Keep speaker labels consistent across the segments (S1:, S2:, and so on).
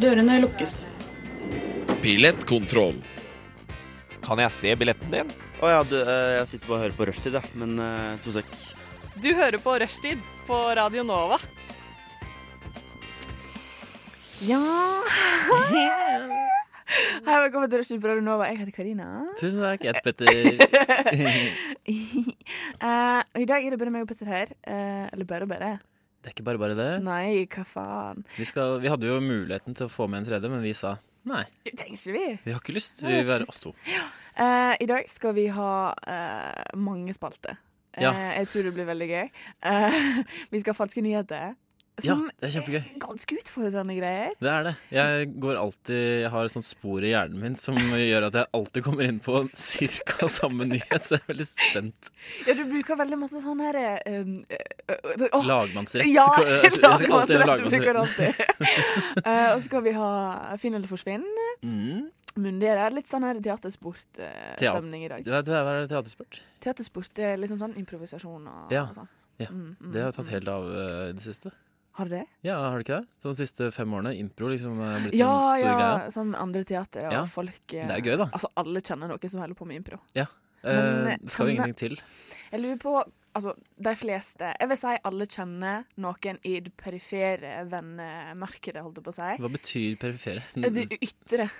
S1: Dørene lukkes.
S2: Billettkontroll.
S3: Kan jeg se billetten din?
S4: Å ja, du, eh, jeg sitter bare og hører på rushtid, jeg. Men eh, to sek.
S5: Du hører på Rushtid på Radio Nova.
S6: Ja Hei, velkommen til Rushdie på Radio Nova. Jeg heter Karina.
S7: Tusen takk. Jeg heter Petter.
S6: Eh, og I dag er det bare meg og Petter her. Eh, eller bare og bare.
S7: Det er ikke bare bare det.
S6: Nei, hva faen.
S7: Vi, skal, vi hadde jo muligheten til å få med en tredje, men vi sa nei.
S6: Det trenger ikke vi.
S7: Vi har ikke lyst. Vi vil være oss to.
S6: Eh, I dag skal vi ha eh, mange spalter. Eh,
S7: Ja.
S6: Jeg tror det blir veldig gøy. Eh, vi skal ha falske nyheter.
S7: Ja,
S6: Som
S7: det er kjempegøy.
S6: er ganske utfordrende greier.
S7: Det er det. Jeg går alltid Jeg har et sånt spor i hjernen min som gjør at jeg alltid kommer inn på cirka samme nyhet, så jeg er veldig spent.
S6: Ja, du bruker veldig masse sånn her eh, eh, eh, åh,
S7: Lagmannsrett.
S6: Ja,
S7: Jeg skal alltid ha
S6: lagmannsrett bruker du
S7: lagmannsrett.
S6: alltid. Eh, og så skal vi ha Finn eller forsvinn.
S7: Mm.
S6: Men det er litt sånn her teatersport-stemning i dag.
S7: Du vet, Hva er det teatersport?
S6: Teatersport det er liksom sånn improvisasjon og,
S7: Ja,
S6: og sånn.
S7: ja.
S6: Mm, mm,
S7: Det har tatt
S6: mm.
S7: helt av eh, i det siste.
S6: Har det det?
S7: Ja, har det ikke det? Så de siste fem årene. Impro liksom har blitt
S6: Ja,
S7: en stor
S6: ja.
S7: greie.
S6: Sånn andre teater og
S7: Ja,
S6: folk eh,
S7: Det er gøy, da.
S6: Altså, alle kjenner noen som holder på med impro.
S7: Eh,
S6: Men,
S7: det skal
S6: kan jeg-
S7: jo ingenting til.
S6: Jeg lurer på Altså, de fleste Jeg vil si alle kjenner noen i det perifere vennemarkedet, holdt jeg på å si.
S7: Hva betyr perifere?
S6: Det ytre. eh,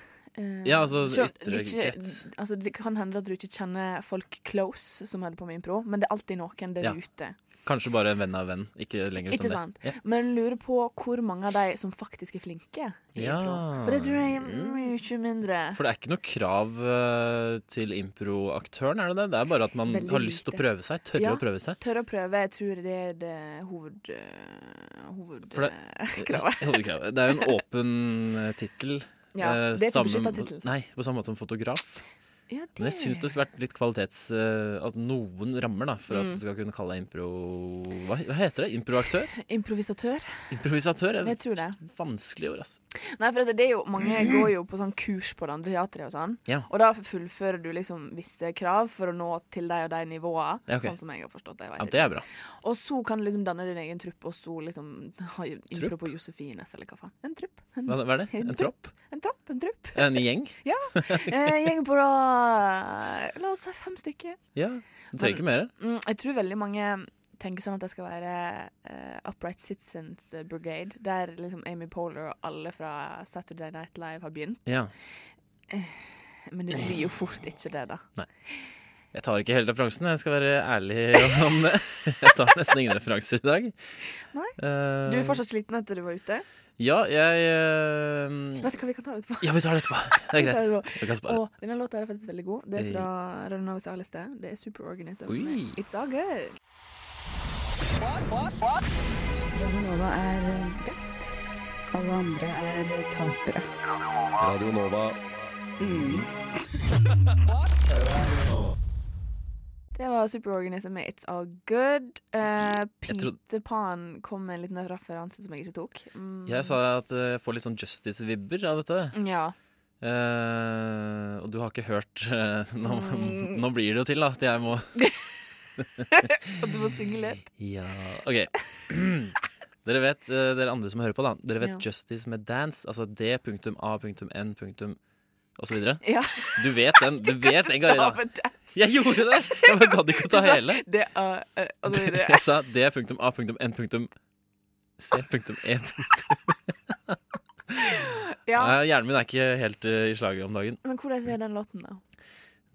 S7: Mm. Ja, altså,
S6: selv-
S7: ytre
S6: du ikke-
S7: krets.
S6: Altså, det kan hende at du ikke kjenner folk close som holder på med impro, men det er alltid noen der
S7: Ja.
S6: ute.
S7: Kanskje bare en venn av venn. Ikke lenger
S6: Ikke
S7: utom det.
S6: sant? Men jeg lurer på hvor mange av de som faktisk er flinke. i
S7: Ja.
S6: impro. For det tror jeg er mye mindre.
S7: For det er ikke noe krav eh, til improaktøren, er det det? Det er bare at man
S6: Veldig
S7: har lyst til å
S6: lite.
S7: prøve seg. Tørre
S6: Ja.
S7: å prøve seg.
S6: Tørre å prøve, jeg tror det er det hoved... eh,
S7: For det-
S6: Hovedkravet.
S7: Hovedkravet. Det er jo en åpen eh, tittel.
S6: Ja,
S7: eh,
S6: det er ikke
S7: samme-
S6: beskytta tittel.
S7: Nei, på samme måte som fotograf.
S6: Ja,
S7: Men jeg syns det skulle vært litt kvalitets... eh, at noen rammer, da, for
S6: Mm.
S7: at du skal kunne kalle deg impro... Hva, hva heter det? Improaktør?
S6: Improvisatør?
S7: Improvisatør? er
S6: Jeg tror det.
S7: Vanskelig ord, ass.
S6: Nei, for det er jo, mange går jo på sånn kurs på det andre teatret og sånn.
S7: Ja.
S6: Og da fullfører du liksom visse krav for å nå til de og de nivåene.
S7: Ja, ok.
S6: Sånn som jeg har forstått det. Jeg vet
S7: Ja, det er bra.
S6: ikke. Og så kan du liksom danne din egen trupp, og så liksom ha impro på Josefines, eller hva faen. En trupp. En,
S7: Hva, hva er det?
S6: En
S7: En tropp?
S6: en tropp, en trupp.
S7: En gjeng?
S6: Eh, Gjeng på da La oss si fem stykker.
S7: Ja. Du trenger ikke mer.
S6: Mm, jeg tror veldig mange tenker sånn at det skal være eh, Upright Citizens Brigade, der liksom Amy Polar og alle fra Saturday Night Live har begynt.
S7: Ja.
S6: Men det blir jo fort ikke det, da.
S7: Eh, Jeg tar ikke hele referansen, jeg skal være ærlig om det. Jeg tar nesten ingen referanser i dag.
S6: Nei.
S7: Eh,
S6: Du er fortsatt sliten etter du var ute?
S7: Ja, jeg eh,
S6: Vet du hva, vi kan ta det etterpå.
S7: Ja, vi tar det etterpå.
S6: Vi
S7: Det er
S6: tar det
S7: greit.
S6: etterpå.
S7: Vi kan spare.
S6: Og denne låta er faktisk veldig god. Det er fra Radionovas A-liste. Det er Superorganism.
S7: Oi.
S6: med It's all good. Radionova er eh, best.
S8: Alle andre er tapere.
S2: Radio Nova.
S6: Det var Superorganism med It's all good. Eh,
S7: Jeg trodde-
S6: Peter Pan kom med en liten referanse som jeg ikke tok. Mm.
S7: Jeg sa at eh, jeg får litt sånn Justice-vibber av dette.
S6: Ja.
S7: Eh, og du har ikke hørt eh, nå,
S6: Mm.
S7: nå blir det jo til da, at jeg må
S6: Og du må synge litt.
S7: Ja, ok. Dere vet, eh, dere andre som hører på, da. Dere vet
S6: Ja.
S7: Justice med Dance. Altså D punktum A punktum N punktum og så videre.
S6: Ja.
S7: Du vet den. Du, vet den, Karina.
S6: Stave det.
S7: Jeg gjorde det! Jeg bare gadd ikke å ta
S6: Du sa-
S7: hele.
S6: Det er eh, altså, det er-
S7: Jeg sa D punktum A punktum N punktum C punktum E punktum.
S6: Ja.
S7: Nei, Hjernen min er ikke helt eh, i slaget om dagen.
S6: Men hvordan er den låten, da?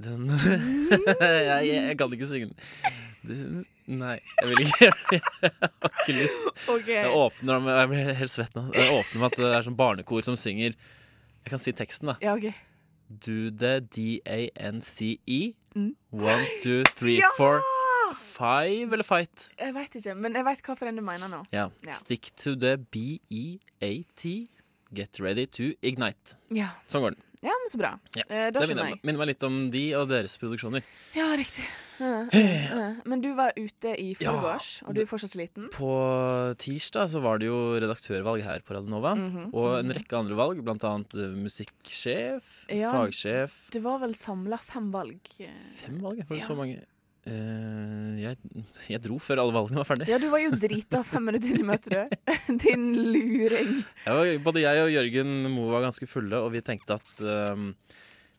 S7: Den Jeg, jeg, jeg gadd ikke synge den. Du- Nei, jeg vil ikke gjøre det. Jeg har ikke lyst. Det åpner med, Jeg blir helt svett nå. Det åpner med at det er sånn barnekor som synger Jeg kan si teksten, da.
S6: Ja, OK.
S7: Do the D-A-N-C-E.
S6: Mm.
S7: E. One, two, three,
S6: Ja!
S7: four, five eller fight.
S6: Jeg veit ikke, men jeg veit hvilken du mener nå.
S7: Ja.
S6: Ja.
S7: Stick to the B-E-A-T. Get ready to ignite.
S6: Ja,
S7: Sånn går den.
S6: ja men så bra.
S7: Ja,
S6: Eh, da skjønner
S7: Det minner,
S6: jeg.
S7: minner meg litt om de og deres produksjoner.
S6: Ja, riktig. Ja, ja, ja. Men du var ute i
S7: Eh. Ja.
S6: forgårs, og du er fortsatt sliten?
S7: På tirsdag så var det jo redaktørvalg her på Radionova.
S6: Mhm.
S7: Og en rekke andre valg, blant annet eh, musikksjef,
S6: Ja.
S7: fagsjef
S6: Det var vel samla fem valg. eh,
S7: Fem valg? Var det
S6: Ja.
S7: så mange? Eh, jeg, jeg dro før alle valgene var ferdig.
S6: Ja, du var jo drita fem minutter inn i møtet, du. Din luring.
S7: Jeg var, både jeg og Jørgen Moe var ganske fulle, og vi tenkte at ehm,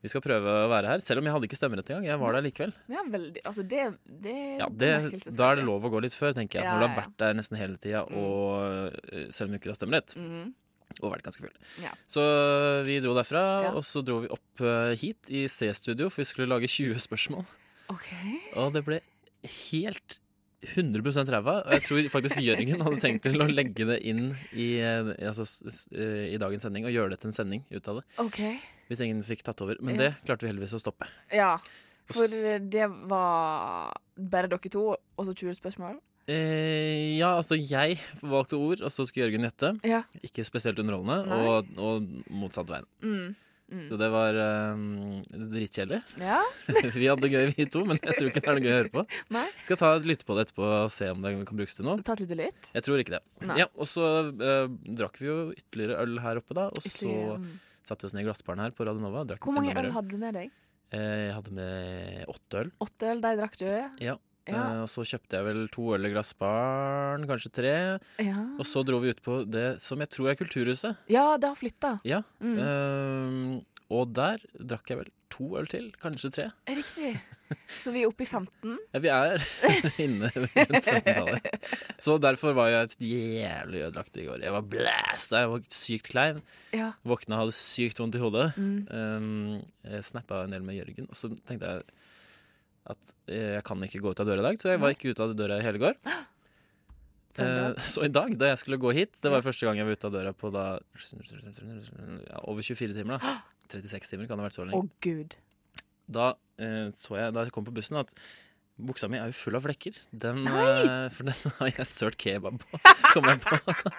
S7: vi skal prøve å være her. Selv om jeg hadde ikke stemmerett engang. Jeg var der likevel.
S6: Ja, veldig. Altså, det, det,
S7: Ja, det, da er det lov å gå litt før, tenker jeg.
S6: Ja,
S7: Når du
S6: ja,
S7: har
S6: Mm. ja.
S7: vært der nesten hele tida, og eh, selv om du ikke har stemmerett,
S6: Mhm.
S7: og vært ganske full.
S6: Ja.
S7: Så eh, vi dro derfra,
S6: Ja.
S7: og så dro vi opp eh, hit i C-studio, for vi skulle lage 20 spørsmål.
S6: OK.
S7: Og det ble helt 100 ræva. Og jeg tror faktisk Jørgen hadde tenkt til å legge det inn i, eh, altså, s- s- eh, i dagens sending, og gjøre det til en sending ut av det.
S6: ok.
S7: Hvis ingen fikk tatt over. Men
S6: Ja.
S7: det klarte vi heldigvis å stoppe.
S6: Ja. For det var bare dere to, og så 20 spørsmål?
S7: Eh, ja, altså jeg valgte ord, og så skulle Jørgen gjette.
S6: Ja.
S7: Ikke spesielt underholdende,
S6: Nei.
S7: og, og motsatt veien.
S6: Mm. Mm.
S7: Så det var eh, dritkjedelig.
S6: Ja.
S7: Vi hadde det gøy, vi to, men jeg tror ikke det er noe gøy å høre på.
S6: Nei.
S7: Skal ta et lytte på det etterpå og se om det kan brukes til noe.
S6: Ta et lite lytt.
S7: Jeg tror ikke det.
S6: Nei.
S7: Ja, Og så eh, drakk vi jo ytterligere øl her oppe, da. Og så
S6: Ytterligere, mm.
S7: satte vi oss ned i glassbaren her på Radionova. og Drakk
S6: Hvor mange
S7: enda mer
S6: øl hadde du med deg?
S7: Eh, Jeg hadde med åtte øl.
S6: Åtte øl, de drakk du?
S7: Ja.
S6: Ja.
S7: Eh, og så kjøpte jeg vel to øl i glassbaren, kanskje tre.
S6: Ja,
S7: Og så dro vi ut på det som jeg tror er Kulturhuset.
S6: ja det har flytta.
S7: Ja.
S6: Mm.
S7: Eh, og der drakk jeg vel to øl til, kanskje tre.
S6: Eh, Riktig. Så vi er oppe i 15.
S7: Ja, vi er inne rundt 15-tallet. Så derfor var jeg et jævlig ødelagt i går. Jeg var blæsta, jeg var sykt klein.
S6: Ja.
S7: Våkna, hadde sykt vondt i hodet.
S6: Mm.
S7: Um, jeg snappa en del med Jørgen, og så tenkte jeg at eh, jeg kan ikke gå ut av døra i dag, så jeg var ikke ute av døra i hele går.
S6: For en dag.
S7: Eh, så i dag, da jeg skulle gå hit, det var første gang jeg var ute av døra på da ja, over 24 timer, da. 36 timer kan det ha vært så
S6: Å,
S7: lenge.
S6: gud.
S7: Da eh, så jeg, da jeg kom på bussen, at buksa mi er jo full av flekker. Den, eh, for den har jeg sølt kebab på, kom jeg på.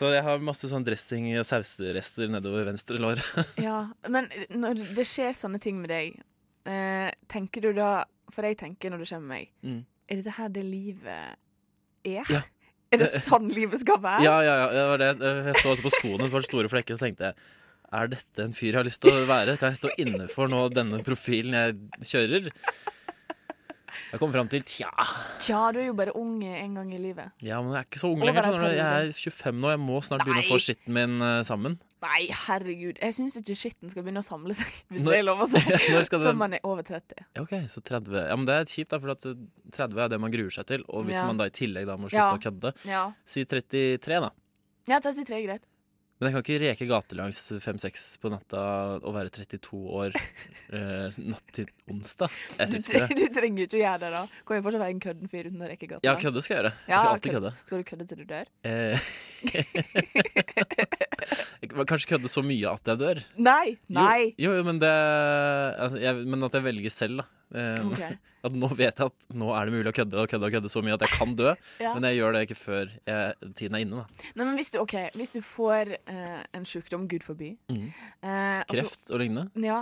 S7: Så jeg har masse sånn dressing og sausrester nedover venstre lår.
S6: Ja. Men eh, når det skjer sånne ting med deg, eh, tenker du da For jeg tenker når det skjer med meg,
S7: Mm.
S6: er dette her det livet er?
S7: Ja.
S6: Er det sånn livet skal være?
S7: Ja, ja, ja, det var det. Jeg så også på skoene, det var store flekker, og så tenkte jeg er dette en fyr jeg har lyst til å være? Kan jeg stå inne for nå denne profilen jeg kjører? Jeg kom fram til tja,
S6: Tja, du er jo bare ung en gang i livet.
S7: ja, men jeg er ikke så ung
S6: Over
S7: lenger.
S6: deg,
S7: Sånn, jeg
S6: Terje.
S7: er 25 nå, jeg må snart begynne å få skitten min eh, sammen.
S6: Nei, herregud. Jeg syns ikke skitten skal begynne å samle seg. Hvis
S7: Når-
S6: det er lov å si.
S7: Når skal
S6: Før
S7: det
S6: man er over 30.
S7: Ja, OK, så 30 Ja, men det er kjipt, da, for at eh, 30 er det man gruer seg til. Og hvis
S6: Ja.
S7: man da i tillegg da må slutte
S6: Ja.
S7: å kødde,
S6: Ja.
S7: si 33, da.
S6: ja 33 er greit.
S7: Men jeg kan ikke reke gatelangs 5-6 på natta og være 32 år eh, natt til onsdag. Jeg
S6: Du,
S7: syns ikke det.
S6: du trenger jo ikke å gjøre det, da. Kan jo fortsatt være en kødden fyr uten å rekke gata.
S7: Ja, kødde skal jeg gjøre. Jeg
S6: Ja,
S7: skal alltid
S6: kødd.
S7: kødde.
S6: Skal du kødde til du dør?
S7: Eh, Jeg kan Kanskje kødde så mye at jeg dør.
S6: Nei! Nei!
S7: Jo, jo, jo men, det, altså, jeg, men at jeg velger selv, da. Eh,
S6: Ok.
S7: At nå vet jeg at nå er det mulig å kødde og kødde og kødde så mye at jeg kan dø.
S6: Ja.
S7: Men jeg gjør det ikke før jeg, tiden er inne. da
S6: Nei, men hvis du, ok, hvis du får eh, en sykdom, gud forby
S7: Mhm.
S6: eh, og så-
S7: Kreft og lignende.
S6: ja.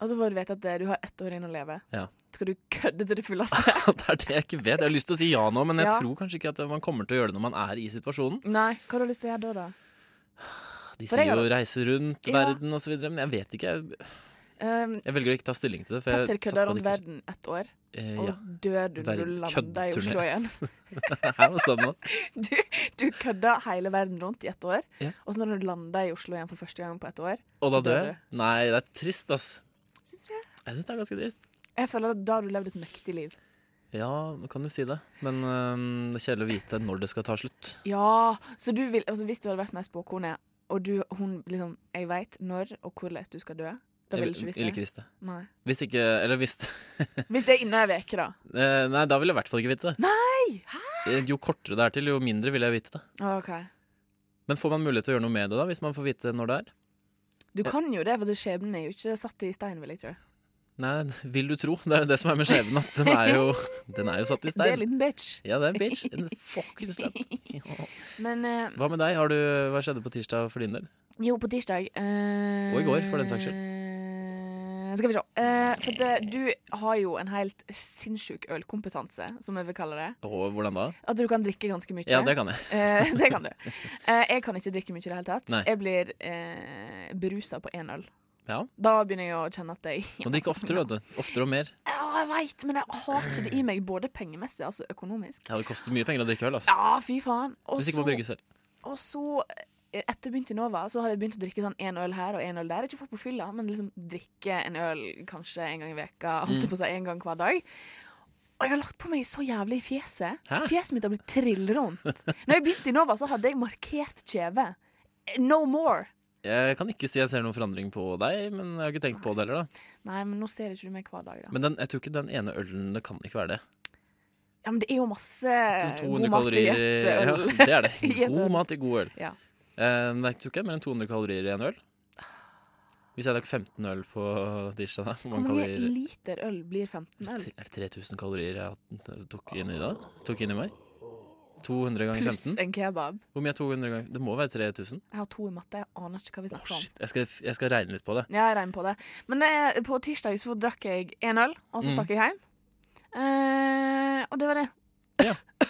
S6: Og så får du vite at eh, du har ett år igjen å leve.
S7: Ja.
S6: Skal du kødde til det fulleste?
S7: Det er det jeg ikke vet. Jeg har lyst til å si ja nå, men jeg
S6: Ja.
S7: tror kanskje ikke at man kommer til å gjøre det når man er i situasjonen.
S6: Nei. Hva har du lyst til å gjøre da, da?
S7: De
S6: For
S7: sier
S6: jeg har
S7: jo 'reise rundt
S6: Ja.
S7: verden' og så videre, men jeg vet ikke. Jeg,
S6: Um,
S7: jeg velger å ikke ta stilling til det. For
S6: Petter
S7: jeg
S6: kødda
S7: Eh, satt på
S6: rundt
S7: det ikke-
S6: verden ett år,
S7: Eh,
S6: og
S7: ja.
S6: dør du når du
S7: Verden-
S6: lander i
S7: køddeturné.
S6: Oslo igjen.
S7: Hæ, hva sa du nå?
S6: Du, du kødda hele verden rundt i ett år,
S7: Ja.
S6: og så når du landa i Oslo igjen for første gang på ett år
S7: Og da
S6: Så dør
S7: dør jeg? Nei, det er trist, ass.
S6: Syns du det?
S7: Jeg syns det er ganske trist.
S6: Jeg føler at da har du levd et mektig liv.
S7: Ja, nå kan du si det, men øhm, det er kjedelig å vite når det skal ta slutt.
S6: Ja, så du vil, altså hvis du hadde vært med i spåkone, og du, hun liksom, jeg vet når og hvordan du skal dø, da
S7: Jeg
S6: ville
S7: vil-
S6: du ikke
S7: vil
S6: visst
S7: ikke
S6: det?
S7: visst det.
S6: Nei.
S7: Hvis ikke Eller hvis
S6: Hvis det er innen ei uke, da.
S7: Eh, Nei, da vil jeg i hvert fall ikke vite det.
S6: Nei!
S7: Eh, Jo kortere det er til, jo mindre vil jeg vite det.
S6: OK.
S7: Men får man mulighet til å gjøre noe med det, da, hvis man får vite når det er?
S6: Du kan jo det, for skjebnen er jo ikke satt i stein, vil jeg tro.
S7: Nei, vil du tro. Det er det som er med skjebnen, at den er jo, den er jo satt i
S6: Det er en
S7: stein.
S6: liten bitch.
S7: Ja, det er en bitch. En fucking slut.
S6: Men eh,
S7: Hva med deg? Har du, hva skjedde på tirsdag for din del?
S6: jo, på tirsdag eh,
S7: Og i går, for den saks
S6: skyld. Skal vi se. Eh, for det, du har jo en helt sinnssyk ølkompetanse, som jeg vil kalle det.
S7: Og hvordan da?
S6: At du kan drikke ganske mye.
S7: Ja, det kan jeg.
S6: Eh, det kan du. Eh, jeg kan ikke drikke mye i det hele tatt.
S7: Nei.
S6: Jeg blir eh, berusa på én øl.
S7: Ja.
S6: Da begynner jeg å kjenne at jeg
S7: Og det gikk oftere, vet du. Oftere og mer.
S6: Ja, jeg veit, men jeg har ikke det i meg, både pengemessig, altså økonomisk.
S7: Ja, det koster mye penger å drikke øl, altså.
S6: Ja, fy faen. Og
S7: Hvis ikke
S6: så,
S7: man brygger selv.
S6: og så eh, etter jeg begynte i Nova, så hadde jeg begynt å drikke sånn én øl her og én øl der. Ikke fått på fylla, men liksom drikke en øl kanskje en gang i veka, holdt
S7: Mm.
S6: jeg på å si, en gang hver dag. Og jeg har lagt på meg så jævlig i fjeset.
S7: Hæ?
S6: Fjeset mitt har blitt trillrundt. Når jeg begynte i Nova, så hadde jeg markert kjeve. Eh, No more!
S7: Jeg kan ikke si jeg ser noen forandring på deg, men jeg har ikke tenkt på det heller, da.
S6: Nei, men nå ser ikke du meg hver dag, da.
S7: Men den, jeg tror ikke den ene ølen det kan ikke være det.
S6: Ja, men det er jo masse
S7: To-
S6: Eh, god
S7: 200
S6: mat i
S7: kalorier i
S6: et
S7: ja,
S6: øl.
S7: Det er det.
S6: I et
S7: God
S6: øl.
S7: mat i god øl.
S6: Ja.
S7: Eh, nei, jeg tror ikke det er mer enn 200 kalorier i en øl. Hvis jeg drakk 15 øl på tirsdag, da, hvor
S6: Hvor
S7: mange
S6: mange
S7: kalorier
S6: liter øl blir 15 øl?
S7: Er det 3000 kalorier jeg har- eh, tok inn i dag? Tok inn i meg? 200 ganger
S6: Pluss
S7: 15?
S6: en kebab.
S7: Hvor mye er 200 ganger? Det må være 3000?
S6: Jeg har to i matte, jeg aner ikke hva vi
S7: Å,
S6: snakker om.
S7: shit. Jeg skal, jeg skal regne litt på det.
S6: Ja, jeg regner på det. Men eh, på tirsdag så drakk jeg én øl, og så
S7: Mm.
S6: stakk jeg hjem. Eh, og det var det.
S7: Ja.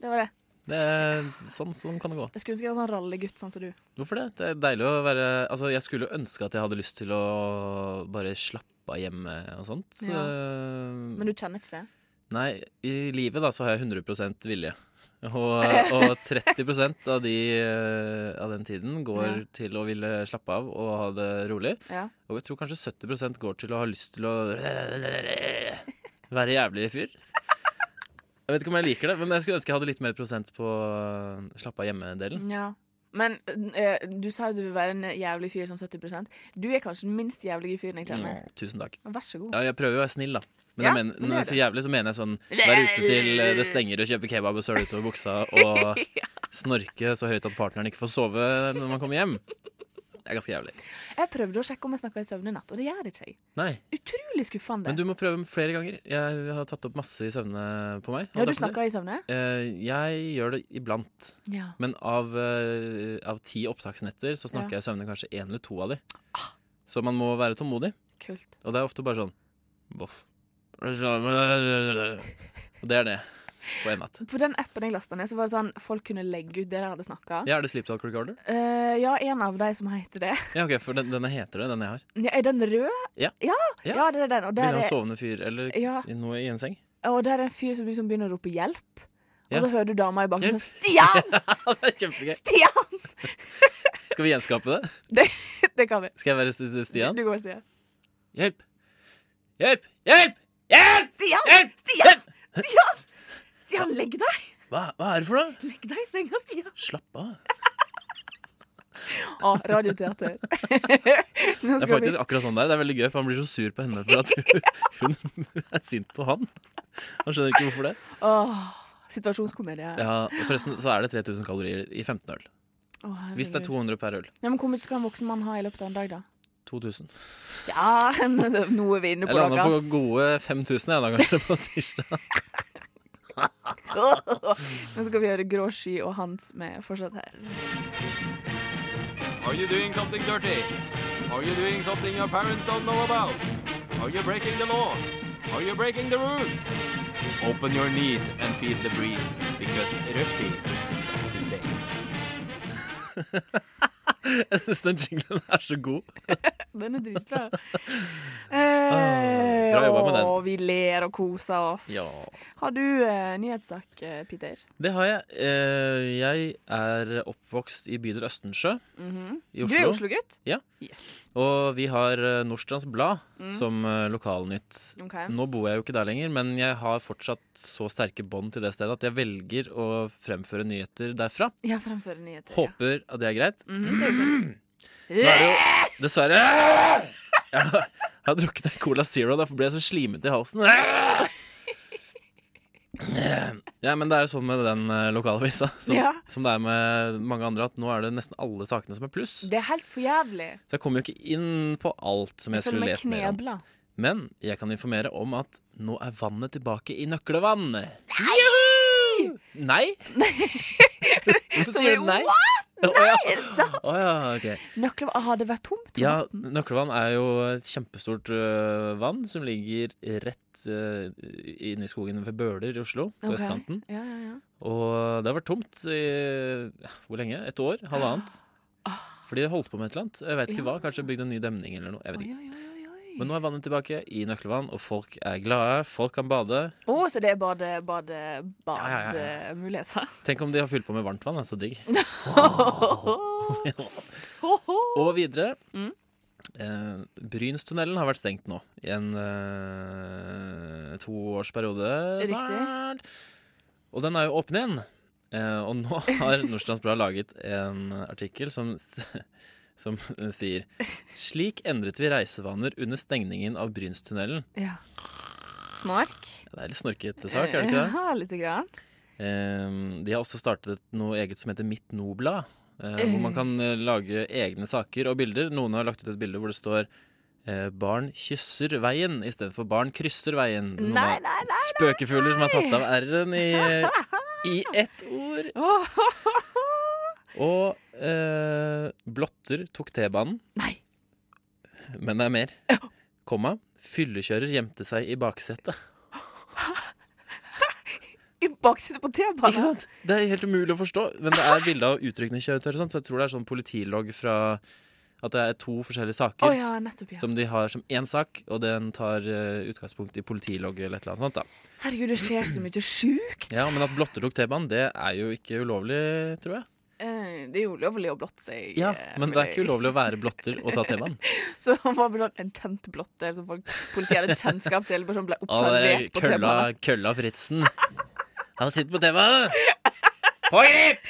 S6: Det var det.
S7: det er, sånn, sånn kan det gå.
S6: Jeg skulle ønske jeg var sånn rallygutt sånn som du.
S7: Hvorfor det? Det er deilig å være Altså, jeg skulle jo ønske at jeg hadde lyst til å bare slappe av hjemme og sånt.
S6: Ja.
S7: Eh,
S6: Men du kjenner ikke det?
S7: Nei, i livet da så har jeg 100 vilje. Og, og 30 av, de, eh, av den tiden går
S6: Ja.
S7: til å ville slappe av og ha det rolig.
S6: Ja.
S7: Og jeg tror kanskje 70 går til å ha lyst til å være jævlig fyr. Jeg vet ikke om jeg liker det, men jeg skulle ønske jeg hadde litt mer prosent på eh, slappe av hjemme-delen.
S6: Ja. Men eh, du sa jo du vil være en jævlig fyr sånn 70 Du er kanskje den minst jævlige fyren jeg kjenner.
S7: Tusen takk.
S6: Men Vær så god.
S7: Mm. Ja, jeg prøver jo å være snill, da. Men
S6: Ja,
S7: jeg mener,
S6: men
S7: når jeg
S6: det
S7: sier jævlig, så mener jeg sånn være ute til eh, det stenger og kjøpe kebab og søle utover buksa og snorke så høyt at partneren ikke får sove når man kommer hjem. Det er ganske jævlig.
S6: Jeg prøvde å sjekke om jeg snakka i søvn i natt, og det gjør ikke jeg.
S7: Nei,
S6: Utrolig skuffende.
S7: men du må prøve flere ganger. Jeg har tatt opp masse i søvne på meg.
S6: ja,
S7: og
S6: du
S7: derfor-
S6: snakka i søvne?
S7: Eh, Jeg gjør det iblant.
S6: Ja.
S7: Men av, eh, av ti opptaksnetter så snakker jeg i søvne kanskje én eller to av de.
S6: Ah.
S7: Så man må være tålmodig.
S6: Kult.
S7: Og det er ofte bare sånn Voff. Og det er det på en natt.
S6: På den appen jeg lasta ned, så var det sånn folk kunne legge ut det de hadde snakka.
S7: Ja, er det Sleep Talk Recorder?
S6: Eh, ja, en av de som heter det.
S7: Ja, ok, for den, denne heter det, den jeg har.
S6: Ja, er den rød?
S7: Ja.
S6: Ja,
S7: Ja.
S6: ja, det er den. Og der
S7: Bilde av en
S6: er,
S7: sovende fyr eller
S6: ja,
S7: i- noe i en seng.
S6: og der er en fyr som liksom begynner å rope 'hjelp',
S7: Ja.
S6: og så hører du dama i bakgrunnen
S7: Hjelp.
S6: sånn 'Stian!
S7: det er kjempegøy.
S6: Stian!'
S7: Skal vi gjenskape det?
S6: Det kan vi.
S7: Skal jeg være Sti- Stian?
S6: Du går, Stian.
S7: Hjelp! Hjelp! Hjelp! Hjelp!
S6: Stian!
S7: Hjelp!
S6: Stian! Stian! Stian, legg deg!
S7: Hva, hva er det for noe?
S6: Legg deg i senga, Stian.
S7: Slapp av.
S6: Å, radioteater. Nå
S7: Det
S6: skal
S7: er
S6: vi
S7: faktisk akkurat sånn der. Det er veldig gøy, for han blir så sur på henne for at hun, hun er sint på han. Han skjønner ikke hvorfor det.
S6: Åh, Situasjonskomedie.
S7: Ja, Forresten så er det 3000 kalorier i 15 øl.
S6: Å, herregud.
S7: Hvis det er 200 per øl.
S6: Ja, men Hvor mye skal en voksen mann ha i løpet av en dag, da?
S7: 2000.
S6: Ja, nå er vi inne på
S7: Jeg landa på
S6: ass.
S7: gode 5000 jeg da, kanskje, på tirsdag.
S6: Nå skal vi høre Grå sky og Hans med fortsatt her.
S1: Are you doing something dirty? Are you doing something your parents don't know about? Are you breaking the law? Are you breaking the rules? Open your knees and feel the breeze because Rushdie is back to stay.
S7: Jeg synes den jinglen er så god.
S6: Den er dritbra.
S7: Ah,
S6: Eh,
S7: bra jobba med den.
S6: og vi ler og koser oss.
S7: Ja.
S6: Har du eh, nyhetssak, eh, Peter?
S7: Det har jeg. Eh, Jeg er oppvokst i bydel Østensjø i
S6: Du er
S7: Oslo.
S6: Oslo-gutt?
S7: Ja.
S6: Yes.
S7: Og vi har eh, Nordstrands Blad som eh, lokalnytt.
S6: Ok.
S7: Nå bor jeg jo ikke der lenger, men jeg har fortsatt så sterke bånd til det stedet at jeg velger å fremføre nyheter derfra.
S6: Ja, fremfører nyheter. ja.
S7: Håper at det er greit.
S6: Mhm, det er jo fint. Eh,
S7: Nå er det jo dessverre Jeg har- jeg har drukket en Cola Zero, derfor ble jeg så slimete i halsen. Ja, men det er jo sånn med den eh, lokalavisa som,
S6: Ja.
S7: som det er med mange andre, at nå er det nesten alle sakene som er pluss.
S6: Det er helt for jævlig.
S7: Så jeg kommer jo ikke inn på alt som jeg,
S6: føler meg
S7: skulle lest mer om.
S6: knebla.
S7: Men jeg kan informere om at nå er vannet tilbake i nøklevann. Nei! Hvorfor sier du nei? Nei, er det sant? ok.
S6: Nøkler ah, Har det vært tomt?
S7: Ja, Nøklevann er jo et kjempestort øh, vann som ligger rett øh, inne i skogen ved Bøler i Oslo, på
S6: Ok.
S7: østkanten.
S6: Ja, ja, ja.
S7: Og det har vært tomt i hvor lenge? Et år? Halvannet? Fordi det holdt på med et eller annet. Jeg vet ikke
S6: Ja.
S7: hva, Kanskje bygd en ny demning eller noe. jeg vet
S6: Oi,
S7: ikke.
S6: oi, oi, oi.
S7: Men nå er vannet tilbake i nøkkelvann, og folk er glade. Folk kan bade.
S6: Å, så det er bade, bade,
S7: Ja, ja, ja, ja.
S6: bademuligheter.
S7: Tenk om de har fylt på med varmt vann. altså digg.
S6: Ho, ho.
S7: Og videre.
S6: Mm.
S7: Eh, Brynstunnelen har vært stengt nå i en eh, toårsperiode
S6: Riktig.
S7: snart. Og den er jo åpen igjen. Eh, og nå har Nordstrands Blad laget en artikkel som, s- som sier Slik endret vi reisevaner under stengningen av Brynstunnelen.
S6: Ja. Snark. Eh,
S7: Det er litt snorkete sak, er det ikke det?
S6: Ja, lite grann.
S7: Ehm, De har også startet noe eget som heter Mitt Nobla. eh, Hvor man kan eh, lage egne saker og bilder. Noen har lagt ut et bilde hvor det står eh, 'Barn kysser veien' istedenfor 'Barn krysser veien'. Noen
S6: Nei,
S7: har
S6: nei, nei,
S7: spøkefugler som har tatt av r-en i, i ett ord.
S6: Åh,
S7: Og eh, blotter tok T-banen.
S6: Nei.
S7: Men det er mer. Komma. Fyllekjører gjemte seg i baksetet.
S6: I baksetet på
S7: Ikke
S6: T-banen.
S7: sant? Det er helt umulig å forstå. Men det er bilde av utrykningskjøretøyer, og sånt, så jeg tror det er sånn politilogg fra at det er to forskjellige
S6: Å
S7: saker
S6: ja, nettopp. ja
S7: som de har som én sak, og den tar eh, utgangspunkt i politilogget eller et eller annet sånt. da.
S6: Herregud, det skjer så mye sjukt.
S7: Ja, Men at blotter tok T-banen, det er jo ikke ulovlig, tror jeg.
S6: Eh, Det er jo ulovlig å blotte seg.
S7: Ja,
S6: eh, vil
S7: Men det er ikke
S6: jeg-
S7: ulovlig å være blotter og ta T-banen.
S6: Så han var bare sånn en tent blotte som folk, politiet hadde kjennskap til. Bare sånn ble
S7: Å, det er
S6: observert på
S7: kølla,
S6: T-banen.
S7: kølla Fritzen. Han sitter på T-banen! Pågrip!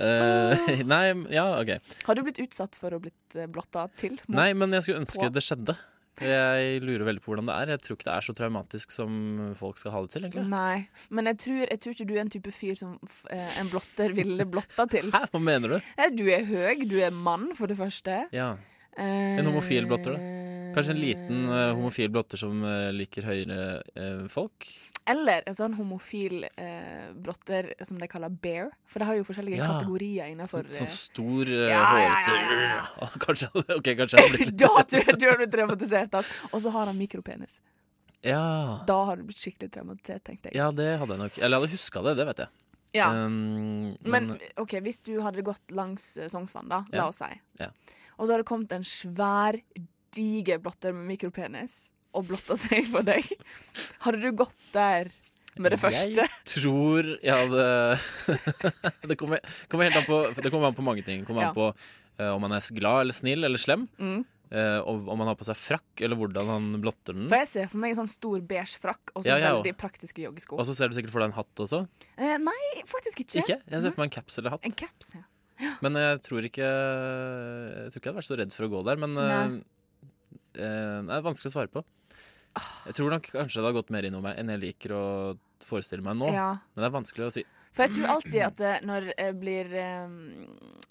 S7: Eh, nei, ja, OK.
S6: Har du blitt utsatt for å blitt eh, blotta til? mot-
S7: Nei, men jeg skulle ønske
S6: på.
S7: det skjedde. Jeg lurer veldig på hvordan det er. Jeg tror ikke det er så traumatisk som folk skal ha det til. egentlig
S6: Nei. Men jeg tror, jeg tror ikke du er en type fyr som f- eh, en blotter ville blotta til.
S7: Hæ, hva mener du?
S6: Eh, Du er høy, du er mann, for det første.
S7: Ja,
S6: En
S7: homofil blotter, Kanskje en liten eh, homofil blotter som eh, liker høyere eh, folk?
S6: Eller en sånn homofil eh, blotter som de kaller bear. For de har jo forskjellige
S7: Ja.
S6: kategorier eh, innafor
S7: sånn stor, uh,
S6: ja, ja,
S7: hårete
S6: ja, ja.
S7: Å, Kanskje Ok, kanskje jeg har blitt litt
S6: Da tror jeg du har blitt traumatisert. ass. Og så har han mikropenis.
S7: ja.
S6: Da har du blitt skikkelig traumatisert, tenkte jeg.
S7: ja, det hadde jeg nok. Eller jeg hadde huska det, det vet jeg.
S6: Ja.
S7: Um,
S6: Men ok, hvis du hadde gått langs eh, Sognsvann, da,
S7: Ja.
S6: la oss si,
S7: Ja.
S6: og så hadde det kommet en svær, diger blotter med mikropenis og blotta seg for deg, hadde du gått der med det første?
S7: Jeg tror jeg hadde Det kommer, kommer helt an på Det kommer an på mange ting. Det kommer
S6: Ja.
S7: an på eh, om han er glad eller snill eller slem.
S6: Mm.
S7: eh, og om han har på seg frakk, eller hvordan han blotter den.
S6: For jeg ser for meg en sånn stor beige frakk og så
S7: Ja, jeg
S6: veldig praktiske joggesko.
S7: Og så ser du sikkert for deg en hatt også.
S6: Eh, nei, faktisk ikke.
S7: Ikke? Jeg ser for meg en caps
S6: En
S7: eller hatt.
S6: caps, ja.
S7: Men jeg tror ikke Jeg tror ikke jeg hadde vært så redd for å gå der, men
S6: Nei.
S7: eh, eh, nei, det er vanskelig å svare på. Jeg tror nok kanskje det har gått mer innom meg enn jeg liker å forestille meg nå.
S6: ja.
S7: Men det er vanskelig å si.
S6: For jeg tror alltid at eh, når jeg blir eh,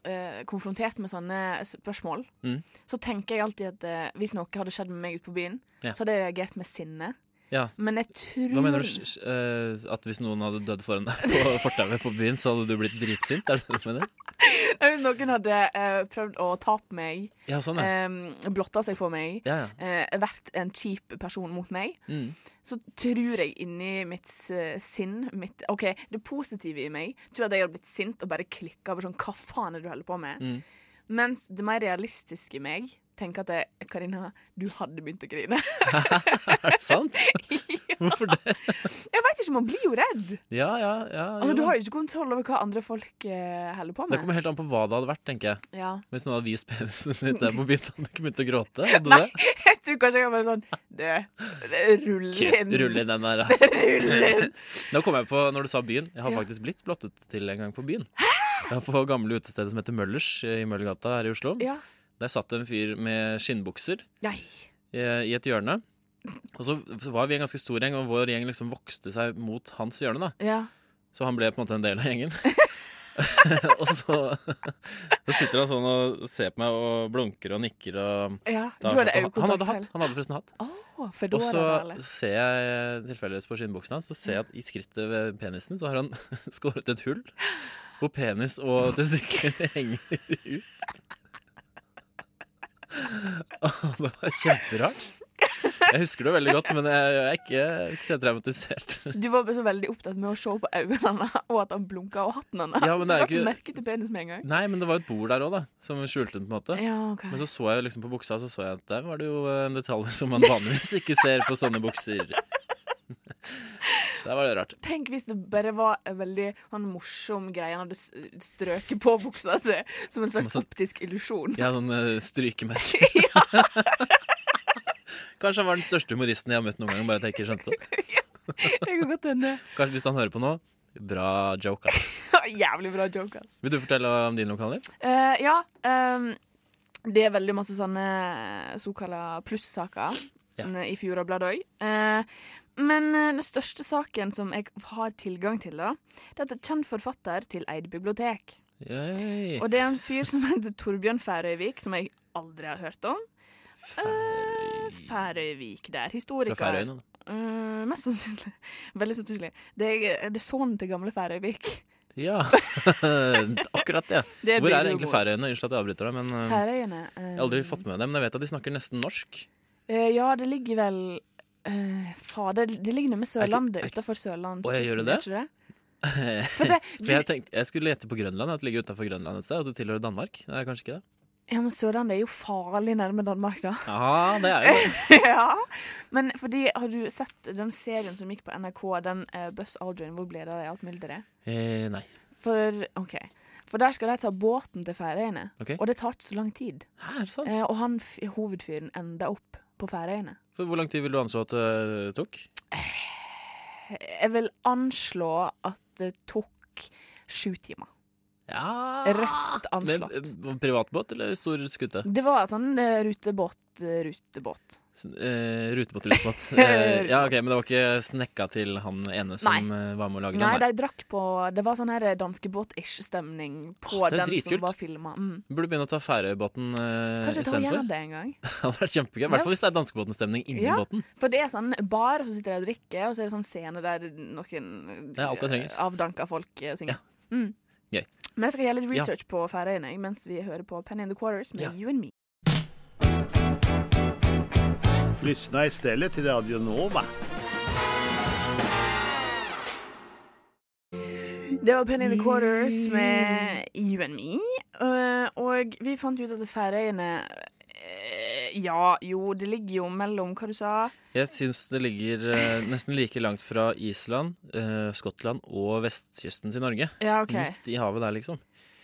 S6: eh, konfrontert med sånne spørsmål,
S7: Mm.
S6: så tenker jeg alltid at eh, hvis noe hadde skjedd med meg ute på byen,
S7: Ja.
S6: så hadde jeg reagert med sinne.
S7: Ja,
S6: Men jeg tror
S7: Hva mener du? s- s- eh, At hvis noen hadde dødd foran deg på fortauet på byen, så hadde du blitt dritsint? Er det det du mener?
S6: Hvis noen hadde eh, prøvd å ta på meg,
S7: Ja, sånn, ja.
S6: eh, blotta seg for meg,
S7: Ja, ja.
S6: eh, vært en kjip person mot meg,
S7: Mm.
S6: så tror jeg inni mitt eh, sinn mitt, OK, det positive i meg tror at jeg hadde blitt sint og bare klikka over sånn Hva faen er det du holder på med?
S7: Mm.
S6: Mens det mer realistiske i meg tenker at jeg, Karina, du hadde begynt å grine.
S7: Er det sant? Hvorfor det?
S6: Jeg veit ikke, man blir jo redd.
S7: Ja, ja, ja.
S6: Altså,
S7: jo.
S6: Du har jo ikke kontroll over hva andre folk eh, holder på
S7: Det
S6: med.
S7: kommer helt an på hva det hadde vært, tenker jeg.
S6: Ja.
S7: Hvis noen hadde vist penisen sin der på byen, så hadde du ikke begynt å gråte? Hadde du det?
S6: Jeg tror kanskje jeg kan være sånn Du, rull
S7: Ok,
S6: inn.
S7: Rull inn den der. da.
S6: Rull inn.
S7: Nå kom jeg på, når du sa byen, jeg har
S6: Ja.
S7: faktisk blitt blottet til en gang på byen. Ja, på gamle utestedet som heter Møllers eh, i Møllergata her i Oslo.
S6: Ja.
S7: Der satt det en fyr med skinnbukser.
S6: Nei.
S7: eh, i et hjørne. Og så var vi en ganske stor gjeng, og vår gjeng liksom vokste seg mot hans hjørne. da
S6: Ja.
S7: Så han ble på en måte en del av gjengen. og så, så sitter han sånn og ser på meg og blunker og nikker. Og
S6: ja. Du
S7: tar
S6: hadde
S7: seg på- han
S6: øyekontakt
S7: hadde hatt.
S6: hele
S7: Han hadde forresten hatt.
S6: Å,
S7: Og
S6: Fedora,
S7: så
S6: da, eller?
S7: ser jeg tilfeldigvis på skinnbuksene hans, så ser jeg at i skrittet ved penisen så har han skåret et hull hvor penis og testikler henger ut. Og det var kjemperart. Jeg husker det veldig godt, men jeg, jeg er ikke, jeg er ikke så traumatisert.
S6: Du var så veldig opptatt med å se på øynene hennes, og at han blunka, og hatten hennes.
S7: Ja, men det
S6: du la
S7: er jo
S6: ikke
S7: ikke-
S6: merke til penis med en gang.
S7: Nei, men det var jo et bord der òg, da, som skjulte den, på en måte.
S6: Ja, ok.
S7: Men så så jeg liksom på buksa, så så jeg at der var det jo eh, en detalj som man vanligvis ikke ser på sånne bukser. Der var det rart.
S6: Tenk hvis det bare var en veldig sånn morsom greie han hadde s- strøket på buksa si, som en slags
S7: Masse-
S6: optisk illusjon.
S7: Jeg har sånn eh, strykemerke. Kanskje han var den største humoristen jeg har møtt noen gang. bare at jeg ikke skjønte det.
S6: Jeg kan godt hende.
S7: Kanskje Hvis han hører på nå, bra joke. ass.
S6: Jævlig bra joke, ass.
S7: Vil du fortelle om din lokaler?
S6: Eh, ja. ehm, det er veldig masse sånne såkalla plussaker
S7: Ja.
S6: n- i Fjordabladet òg. men eh, den største saken som jeg har tilgang til, da, det er at det er kjent forfatter til Eid bibliotek.
S7: Yay.
S6: Og det er en fyr som heter Torbjørn Færøyvik, som jeg aldri har hørt om. Eh, Færøyvik der. Historiker.
S7: Fra Færøyene. da.
S6: Eh, mest sannsynlig. Veldig sannsynlig. Det er, det er sønnen til gamle Færøyvik.
S7: Ja, akkurat det.
S6: Det
S7: Hvor er egentlig
S6: billedhumor.
S7: Færøyene? Unnskyld at jeg avbryter deg, men eh,
S6: Færøyene. eh,
S7: jeg har aldri fått med det. Men jeg vet at de snakker nesten norsk.
S6: Eh, ja, det ligger vel eh, Fader, det ligger nemme Sørlandet,
S7: Er ikke-
S6: utafor
S7: Å,
S6: Sørlandskysten.
S7: jeg gjør det
S6: er
S7: det?
S6: ikke det? For
S7: For
S6: det
S7: jeg, tenkte, jeg skulle gjette på Grønland, at det ligger utenfor Grønland et sted, og det tilhører Danmark. Det er kanskje ikke det?
S6: ja, men Sørlandet er jo farlig nærme Danmark, da.
S7: Ja, det er jo det.
S6: ja. Men fordi, har du sett den serien som gikk på NRK, den eh, Buzz Aldrin, hvor ble det av alt mylderet?
S7: Eh, nei.
S6: For OK. For der skal de ta båten til Færøyene,
S7: Ok.
S6: og det tar ikke så lang tid.
S7: Hæ, er det sant?
S6: Eh, og han f hovedfyren enda opp på Færøyene.
S7: For hvor lang tid vil du anså at det tok?
S6: Jeg vil anslå at det tok sju timer.
S7: Ja
S6: Røft anslått.
S7: Med, Ah. eh, privatbåt eller stor skute?
S6: Det var en sånn eh, rutebåt, eh, rutebåt.
S7: S- Eh, rutebåt, rutebåt. Eh, ja, ok, Men det var ikke snekka til han ene som eh, var med å lage
S6: Nei,
S7: den?
S6: de drakk på Det var sånn her danskebåt-ish-stemning på
S7: Åh, det er
S6: den
S7: dritkult.
S6: som var filma. Mm.
S7: Burde begynne å ta Færøybåten eh,
S6: Kanskje ta og gjør
S7: istedenfor.
S6: det en gang.
S7: Det hadde vært kjempegøy. I hvert fall hvis det er danskebåten-stemning inni
S6: Ja.
S7: båten.
S6: For det er sånn bar, så sitter de og drikker, og så er det sånn scene der noen
S7: Det er alt jeg trenger.
S6: avdanka folk eh, synger. Mm.
S7: Gøy.
S6: Men jeg skal gjøre litt
S7: Ja.
S6: research på Færøyene jeg, mens vi hører på Penny in the Quarters med
S7: Ja.
S6: You and Me.
S9: Lyssna istället till Radio Nova.
S6: Det var Penny in the Quarters med You and Me. Eh, og vi fant ut at Færøyene eh, Ja, jo, det ligger jo mellom hva du sa
S7: Jeg syns det ligger eh, nesten like langt fra Island, eh, Skottland og vestkysten til Norge.
S6: Ja, OK.
S7: Midt i havet der, liksom.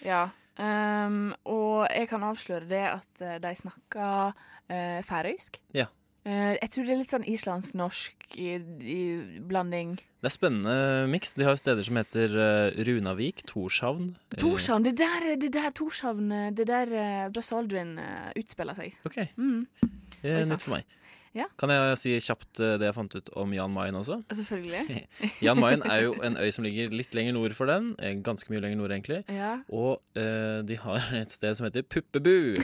S6: Ja. Ehm, og jeg kan avsløre det at eh, de snakker eh, færøysk.
S7: Ja.
S6: Eh, jeg tror det er litt sånn islandsk-norsk i, i blanding.
S7: Det er spennende eh, miks. De har jo steder som heter eh, Runavik, Torshavn eh,
S6: Torshavn! Det der, det der Torshavn eh, Det der uh, Buzz Aldrin eh, utspiller seg.
S7: Ok,
S6: Mm,
S7: eh,
S6: Oi, sant.
S7: Nytt for meg.
S6: Ja.
S7: Kan jeg si kjapt eh, det jeg fant ut om Jan Mayen også?
S6: selvfølgelig.
S7: Jan Mayen er jo en øy som ligger litt lenger nord for den. eh, Ganske mye lenger nord, egentlig.
S6: Ja.
S7: Og eh, de har et sted som heter Puppebu.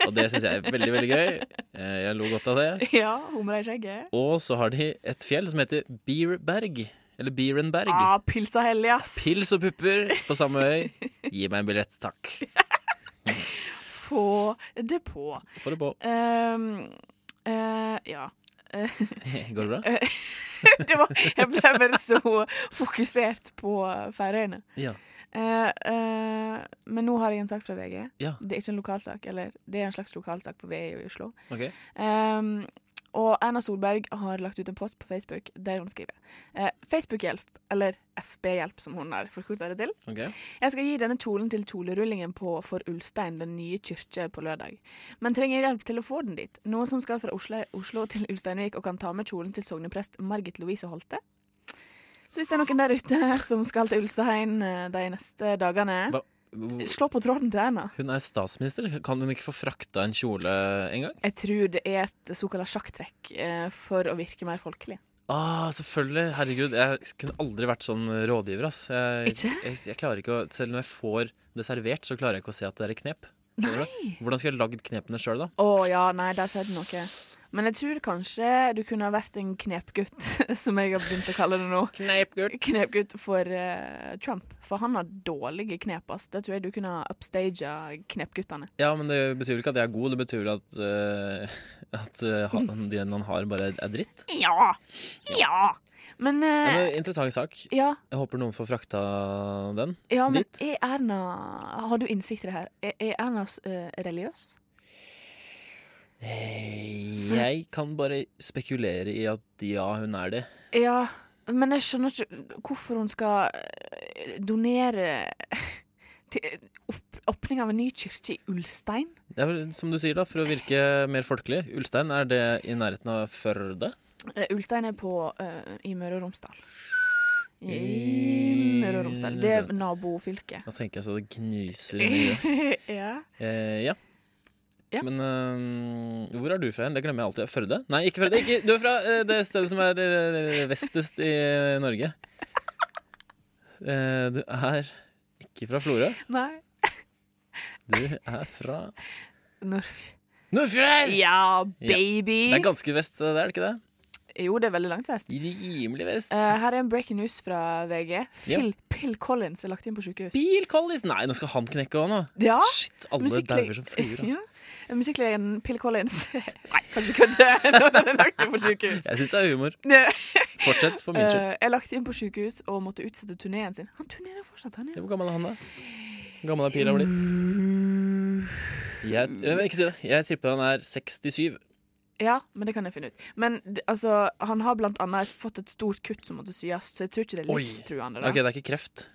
S7: Og det syns jeg er veldig, veldig gøy. Eh, jeg lo godt av det.
S6: ja Humra i skjegget.
S7: Og så har de et fjell som heter Bierberg. Eller Bierenberg.
S6: Ah, Pilsa hellig, ass!
S7: Pils og pupper på samme øy. Gi meg en billett, takk.
S6: Få det på.
S7: Får det på.
S6: Ehm, eh, ja.
S7: Går det bra?
S6: Det var, jeg ble bare så fokusert på Færøyene.
S7: Ja.
S6: Eh, eh, men nå har jeg en sak fra VG.
S7: Ja.
S6: Det er ikke en lokalsak, eller det er en slags lokalsak, for vi er jo i Oslo.
S7: Ok.
S6: Ehm, og Erna Solberg har lagt ut en post på Facebook der hun skriver eh, Facebook-hjelp, eller FB-hjelp, som hun har forkorta det til.
S7: ok.
S6: Jeg skal gi denne kjolen til kjolerullingen på For Ulstein, den nye kyrkje, på lørdag. Men trenger hjelp til å få den dit. Noen som skal fra Oslo, Oslo til Ulsteinvik og kan ta med kjolen til sogneprest Margit Louise Holte. Så hvis det er noen der ute som skal til Ulstein eh, de neste dagene,
S7: Hva? Hun
S6: slå på tråden til Erna.
S7: er statsminister. Kan hun ikke få frakta en kjole engang?
S6: Jeg tror det er et såkalt sjakktrekk eh, for å virke mer folkelig.
S7: Ah, selvfølgelig. Herregud, jeg kunne aldri vært sånn rådgiver, ass. Jeg,
S6: Ikke?
S7: Jeg, jeg klarer ikke å, selv når jeg får det servert, så klarer jeg ikke å se at det er et knep. Skjønner du? Hvordan skulle jeg lagd knepene sjøl, da?
S6: Å ja, nei, der sa du noe. Men jeg tror kanskje du kunne ha vært en knepgutt, som jeg har begynt å kalle det nå.
S7: Kneipgull.
S6: Knepgutt for eh, Trump, for han har dårlige knep. ass. Det tror jeg du kunne ha upstaged knepguttene.
S7: Ja, men det betyr vel ikke at jeg er god, det betyr vel at, eh, at eh, han, den han har, bare er dritt.
S6: Ja! Ja! Men,
S7: Ja,
S6: eh,
S7: men, interessant sak.
S6: ja,
S7: Jeg håper noen får frakta den.
S6: ja, men
S7: Ditt?
S6: er Erna Har du innsikt i det her? Er, er Erna eh, religiøs?
S7: Jeg kan bare spekulere i at ja, hun er det.
S6: Ja, men jeg skjønner ikke hvorfor hun skal eh, donere til opp, åpning av en ny kirke i Ulstein.
S7: Det er vel, som du sier, da, for å virke mer folkelig. Ulstein, er det i nærheten av Førde?
S6: Eh, Ulstein er på eh, i Møre og Romsdal. I Møre og Romsdal. Det er nabofylket.
S7: Da tenker jeg så det gnuser i huet.
S6: ja.
S7: Eh, ja.
S6: Ja.
S7: Men eh, hvor er du fra igjen? Det glemmer jeg alltid. Førde? Nei, ikke Førde. Ikke. Du er fra eh, det stedet som er eh, vestest i Norge. Eh, du er ikke fra Florø.
S6: Nei.
S7: Du er fra
S6: Norf.
S7: Nordfjell!
S6: Ja,
S7: Det er
S6: baby!
S7: ganske vest, det er det ikke det?
S6: Jo, det er veldig langt vest.
S7: Rimelig vest.
S6: Eh, her er en breaking news fra VG. Phil, Phil Collins er lagt inn på sykehus.
S7: Bill Collins! Nei, nå skal han knekke òg, nå.
S6: Ja,
S7: Shit, alle
S6: musikklege-
S7: dauer som fluer, altså.
S6: Ja, Musikklegen Phil Collins Nei, kan du kødde når han er lagt inn på sykehus?
S7: Jeg syns det er humor.
S6: Det-
S7: Fortsett for min skyld.
S6: Eh, er lagt inn på sykehus og måtte utsette turneen sin. Han turnerer fortsatt, han, ja.
S7: Hvor gammel er han, da? Hvor gammel er Pira blitt?
S6: Mm.
S7: Jeg, jeg, ikke si det. jeg tipper han er 67.
S6: Ja, men det kan jeg finne ut. Men d- altså, han har blant annet fått et stort kutt som måtte syes, så jeg tror ikke det er
S7: Oi.
S6: livstruende. Da.
S7: Ok, det er ikke kreft.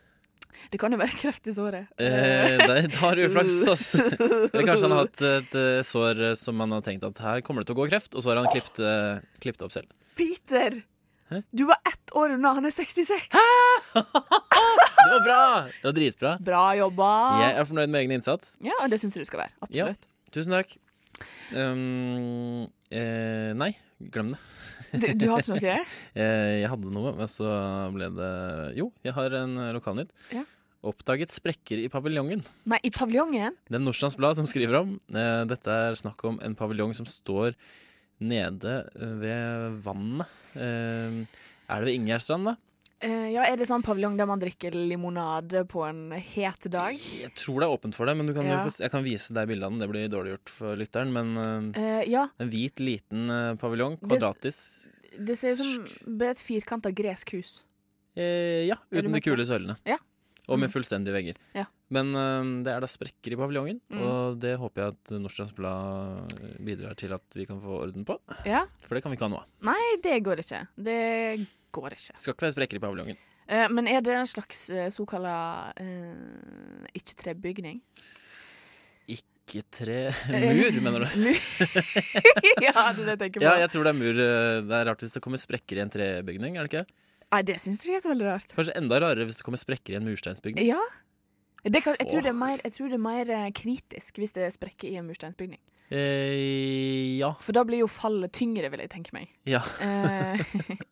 S6: Det kan jo være kreft i såret.
S7: Eh, det- da har du uflaks, ass. Eller kanskje han har hatt et eh, sår eh, som han har tenkt at her kommer det til å gå kreft, og så har han klippet, eh, klippet opp selv.
S6: Peter!
S7: Hæ?
S6: Du var ett år unna, han er 66!
S7: Det var bra! Det var dritbra.
S6: Bra jobba!
S7: Jeg er fornøyd med egen innsats.
S6: Ja, og det syns jeg du skal være. Absolutt.
S7: Tusen takk. Um, eh, nei, glem det.
S6: Du, du har ikke noe?
S7: Eh, jeg hadde noe, men så ble det Jo, jeg har en eh, lokalnytt.
S6: Ja.
S7: Oppdaget sprekker i paviljongen.
S6: Nei, i paviljongen?
S7: Det er Nordstrands Blad som skriver om. Eh, dette er snakk om en paviljong som står nede eh, ved vannet. Eh, er det ved Ingjerdstrand, da?
S6: Eh, ja, er det sånn paviljong der man drikker limonade på en het dag?
S7: Jeg tror det er åpent for det, men du kan jo
S6: Ja.
S7: få, jeg kan vise deg bildene. Det blir dårlig gjort for lytteren, men eh,
S6: Eh, ja,
S7: en hvit, liten eh, paviljong.
S6: Det-
S7: Kvadratisk.
S6: det ser ut som et firkanta gresk hus.
S7: Eh, ja,
S6: Er du
S7: uten de
S6: med på
S7: kule sølene.
S6: Ja.
S7: Og med
S6: Mm.
S7: fullstendige vegger.
S6: Ja.
S7: Men eh, det er da sprekker i paviljongen,
S6: Mm.
S7: og det håper jeg at Nordstrands Blad eh, bidrar til at vi kan få orden på.
S6: Ja.
S7: For det kan vi ikke ha nå.
S6: Nei, det går ikke. Det går ikke.
S7: Skal ikke være sprekker i paviljongen.
S6: Eh, men er det en slags uh, såkalla eh, ikke-trebygning?
S7: Ikke tre Mur, mener du?
S6: ja, det er det jeg tenker på.
S7: Ja, jeg tror det er mur. eh, Det er rart hvis det kommer sprekker i en trebygning. er det ikke?
S6: Nei, det syns jeg ikke er så veldig rart.
S7: Kanskje enda rarere hvis det kommer sprekker i en mursteinsbygning.
S6: Ja. Det kan, jeg, tror det er mer, jeg tror det er mer eh, kritisk hvis det sprekker i en mursteinsbygning.
S7: Eh, ja.
S6: For da blir jo fallet tyngre, vil jeg tenke meg.
S7: Ja.
S6: Eh,